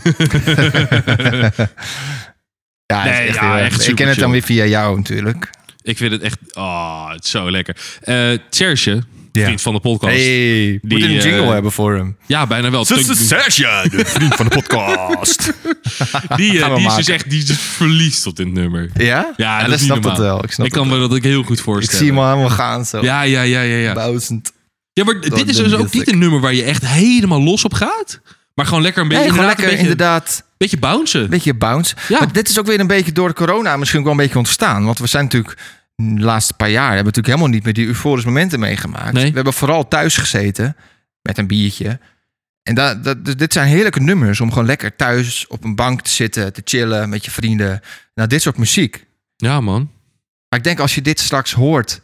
Ja, het is Nee, echt ja, heel echt erg. ik ken het superchill. dan weer via jou natuurlijk. ik vind het echt ah, het is zo lekker. Eh Serge, vriend van de podcast. Hey, moet Die, een jingle eh, hebben voor hem. Ja, bijna wel. Serge, [LAUGHS] de vriend van de podcast. Die, eh, Gaan we die is dus maken. echt die is dus verliefd op dit nummer. ja? Ja, dat, ik is niet snap normaal. dat wel. Ik, snap ik kan dat me wel. dat ook heel goed ik voorstellen. zie hem al helemaal gaan zo. Ja, ja, ja, ja, ja. Bouwend. Ja, maar dit is dus ook niet een nummer waar je echt helemaal los op gaat. Maar gewoon lekker een beetje, Nee, gewoon inderdaad, lekker een beetje, inderdaad. beetje bouncen. Een beetje bounce. Ja. Maar dit is ook weer een beetje door de corona misschien ook wel een beetje ontstaan. Want we zijn natuurlijk de laatste paar jaar... hebben we natuurlijk helemaal niet meer die euforische momenten meegemaakt. Nee. We hebben vooral thuis gezeten met een biertje. En dat, dat, dus dit zijn heerlijke nummers om gewoon lekker thuis op een bank te zitten... te chillen met je vrienden. Nou, dit soort muziek. Ja, man. Maar ik denk als je dit straks hoort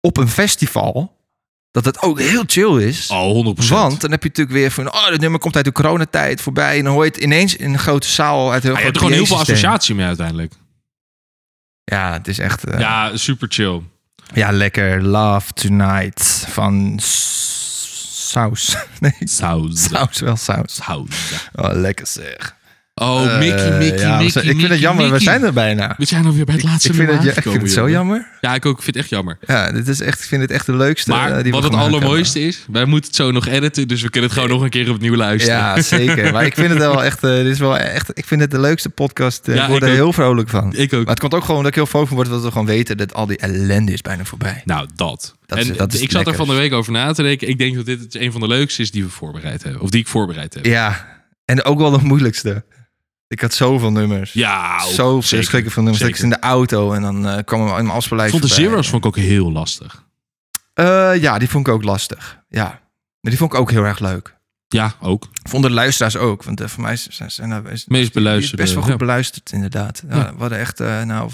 op een festival, dat het ook heel chill is. Oh, 100%. Want dan heb je natuurlijk weer van, oh, dit nummer komt uit de coronatijd voorbij. En dan hoor je het ineens in een grote zaal uit heel Ah, je groot hebt er gewoon heel veel PA-systeem. associatie mee uiteindelijk. Ja, het is echt eh, ja. Ja, super chill. lekker. Love Tonight van S- Saus. [LAUGHS] Nee, Sounds. Saus wel Saus. Sounds. Oh, lekker zeg. Oh, Mickey, Eh, Mickey, ja, we Mickey, zijn- Ik vind het Mickey, jammer, we Mickey. zijn er bijna. We zijn alweer bij het laatste Ik vind, het, nummer ja, ik vind het zo aangekomen, jammer. joh. Ja, ik ook. Ik vind het echt jammer. Ja, dit is echt, ik vind het echt de leukste eh, maar die we wat het gemaakt hebben. allermooiste is, wij moeten het zo nog editen, dus we kunnen het gewoon nog een keer opnieuw luisteren. Ja, zeker. Maar ik vind het wel echt, eh, dit is wel echt, ik vind het de leukste podcast. eh, Ja, ik word ik er ook. heel vrolijk van. Ik ook. Maar het komt ook gewoon dat ik heel vrolijk van word, dat we gewoon weten dat al die ellende is bijna voorbij. Nou, dat. Dat en is- dat is ik zat er van de lekkers. week over na te denken. Ik denk dat dit een van de leukste is die we voorbereid hebben. Of die ik voorbereid heb. Ja, en ook wel de moeilijkste. Ik had zoveel nummers. Ja, Zo verschrikkelijk veel nummers. Dat Ik Zeker. zat in de auto en dan eh, kwam er in mijn afspeellijst Ik vond de voorbij. Zero's vond ik ook heel lastig. Eh, ja, die vond ik ook lastig. Ja, maar die vond ik ook heel erg leuk. Ja, ook. Vonden de luisteraars ook, want eh, voor mij zijn ze nou is- Meest Die beluisterde. is best wel goed ja. beluisterd, inderdaad. Ja, Ja. We hadden echt eh nou,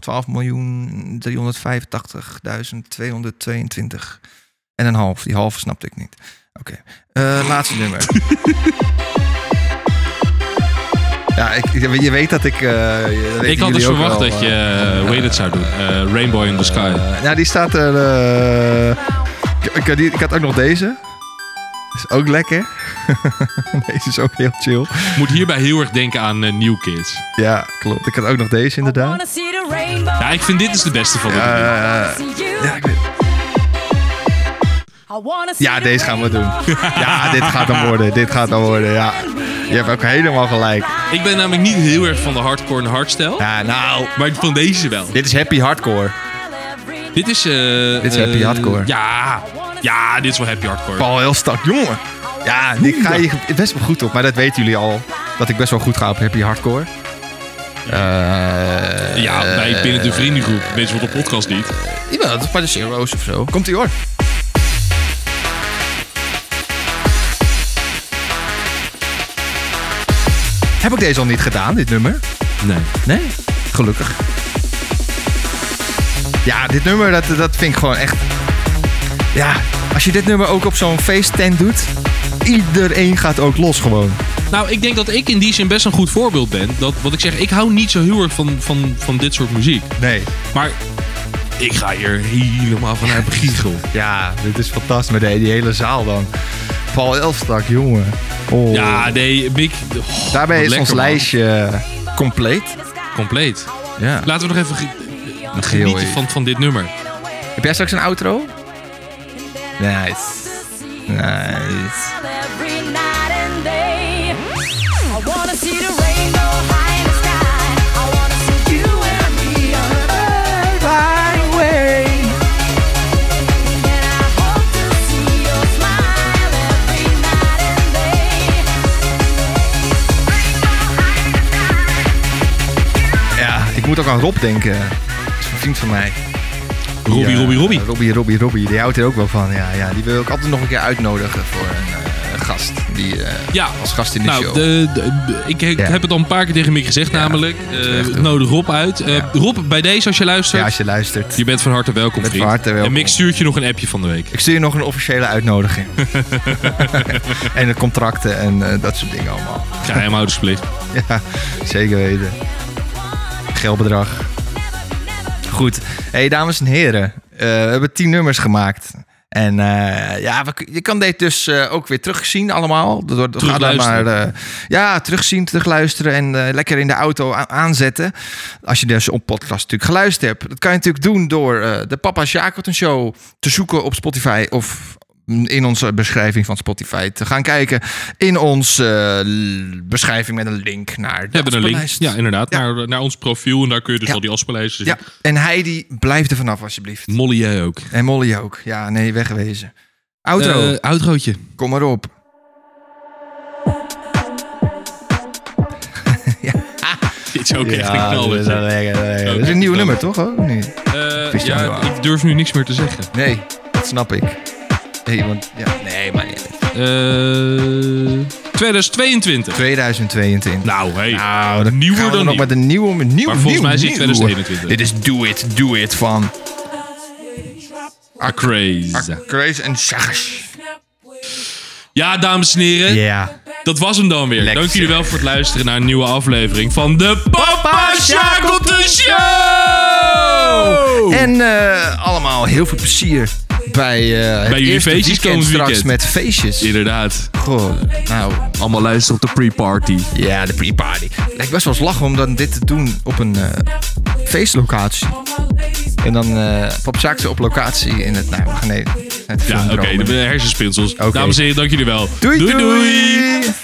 12.385.222 en een half. Die halve snapte ik niet. Oké, Eh, laatste nummer. [LAUGHS] ja, ik, ik- je weet dat ik... eh, je- dat weten Ik had dus jullie ook verwacht wel, dat je eh. eh, hoe heet het zou doen. Eh, Rainbow in the Sky. Eh, nou, die staat er... eh, ik, ik- die- ik had ook nog deze. Is ook lekker. [LAUGHS] deze is ook heel chill. Moet hierbij heel erg denken aan eh, New Kids. Ja, klopt. Ik had ook nog deze, inderdaad. Ja, ik vind dit is de beste van de drie. Ja, ik weet... Ja, deze gaan we doen. [LAUGHS] Ja, dit gaat hem worden. Dit gaat hem worden, ja. Je hebt ook helemaal gelijk. Ik ben namelijk niet heel erg van de hardcore en hardstyle. Ja, nou. Maar van deze wel. Dit is happy hardcore. Dit is... eh, Dit is happy eh, hardcore. Ja. Ja, dit is wel happy hardcore. Paul heel strak, jongen. Ja, ik ga hier best wel goed op. Maar dat weten jullie al. Dat ik best wel goed ga op happy hardcore. Eh ja, bij binnen de vriendengroep. Weet je wat de podcast niet? ja, dat is bij de Zero's of zo. Komt-ie hoor. Heb ik deze al niet gedaan, dit nummer? Nee. Nee, gelukkig. Ja, dit nummer, dat, dat vind ik gewoon echt... Ja, als je dit nummer ook op zo'n feesttent doet... Iedereen gaat ook los gewoon. Nou, ik denk dat ik in die zin best een goed voorbeeld ben. Dat, wat ik zeg, ik hou niet zo heel erg van, van, van dit soort muziek. Nee. Maar ik ga hier helemaal vanuit [LAUGHS] begiegel. Ja, dit is fantastisch. Maar die, die hele zaal dan. Paul Elfstak, jongen. Oh. Ja, nee, Mick. oh, Daarbij wat is lekker, ons man. lijstje compleet. Compleet. Ja. Laten we nog even ge- heel genieten even. van, van dit nummer. Heb jij straks een outro? Nice. Nice. Ja, ik moet ook aan Rob denken. Dat is een vriend van mij. Robbie, Ja, Robbie, Robbie. Robbie, Robbie, Robbie. Die houdt er ook wel van. Ja, ja, die wil ik altijd nog een keer uitnodigen voor een eh, gast. Die, eh, Ja. Als gast in de nou, show. de- de- ik ik Ja. heb het al een paar keer tegen Mick gezegd, namelijk. eh echt doen. nodig Rob uit. Eh, Ja. Rob, bij deze als je luistert. ja, als je luistert. Je bent van harte welkom, Bent van vriend. harte welkom. En Mick stuurt je nog een appje van de week. Ik stuur je nog een officiële [LAUGHS] uitnodiging. en de contracten en eh, dat soort dingen allemaal. Geheimhoudersplicht. Ja, zeker weten. Geldbedrag. Goed. hey, dames en heren. eh, we hebben tien nummers gemaakt. En eh, ja, we, kun- je kan dit dus eh, ook weer terugzien allemaal. Door, door- ga dan maar, Terugluisteren. eh, ja, terugzien, terugluisteren en eh, lekker in de auto a- aanzetten. Als je dus op podcast natuurlijk geluisterd hebt. Dat kan je natuurlijk doen door eh, de Papa Shackleton Show te zoeken op Spotify of in onze beschrijving van Spotify te gaan kijken. In onze beschrijving met een link naar de We hebben een link. afspeellijst. Ja, inderdaad. Ja. Naar, naar ons profiel. En daar kun je dus Ja. al die afspeellijsten zien. Ja, en Heidi, blijf er vanaf alsjeblieft. Molly, jij ook. En Molly ook. Ja, nee, wegwezen. Outro, Eh, [LAUGHS] outrootje. kom maar op. Dit is ook echt een knal. dit. Dat is een nieuw nummer, toch? Oh, nee. Eh, Wist je ja, wel. ik durf nu niks meer te zeggen. nee, dat snap ik. Hey, want, ja. Nee, maar niet. Eh, 2022. 2022. Nou, hé. Nou, dan nieuwer gaan we dan nog nieuw. met een nieuwe, een nieuw, Maar volgens nieuw, mij is dit nieuw. 2021. Dit is Do It, Do It van Ah, Crazy. Grace en Sagas. Ja, dames en heren. Ja. Dat was hem dan weer. Lekker. Dank jullie wel voor het luisteren naar een nieuwe aflevering van de Papa Shackleton Show! En eh, allemaal heel veel plezier bij, eh het Bij jullie eerste feestjes weekend komend straks weekend. met feestjes. Inderdaad. Goh, nou, Allemaal luisteren op de pre-party. ja, de pre-party. Lijkt best wel eens lachen om dan dit te doen op een eh, feestlocatie. En dan eh Pap Sjaak ze op locatie in het... Nou, nee, het Ja, oké. filmdromen. de hersenspinsels. Oké. Dames en heren, dank jullie wel. doei! doei.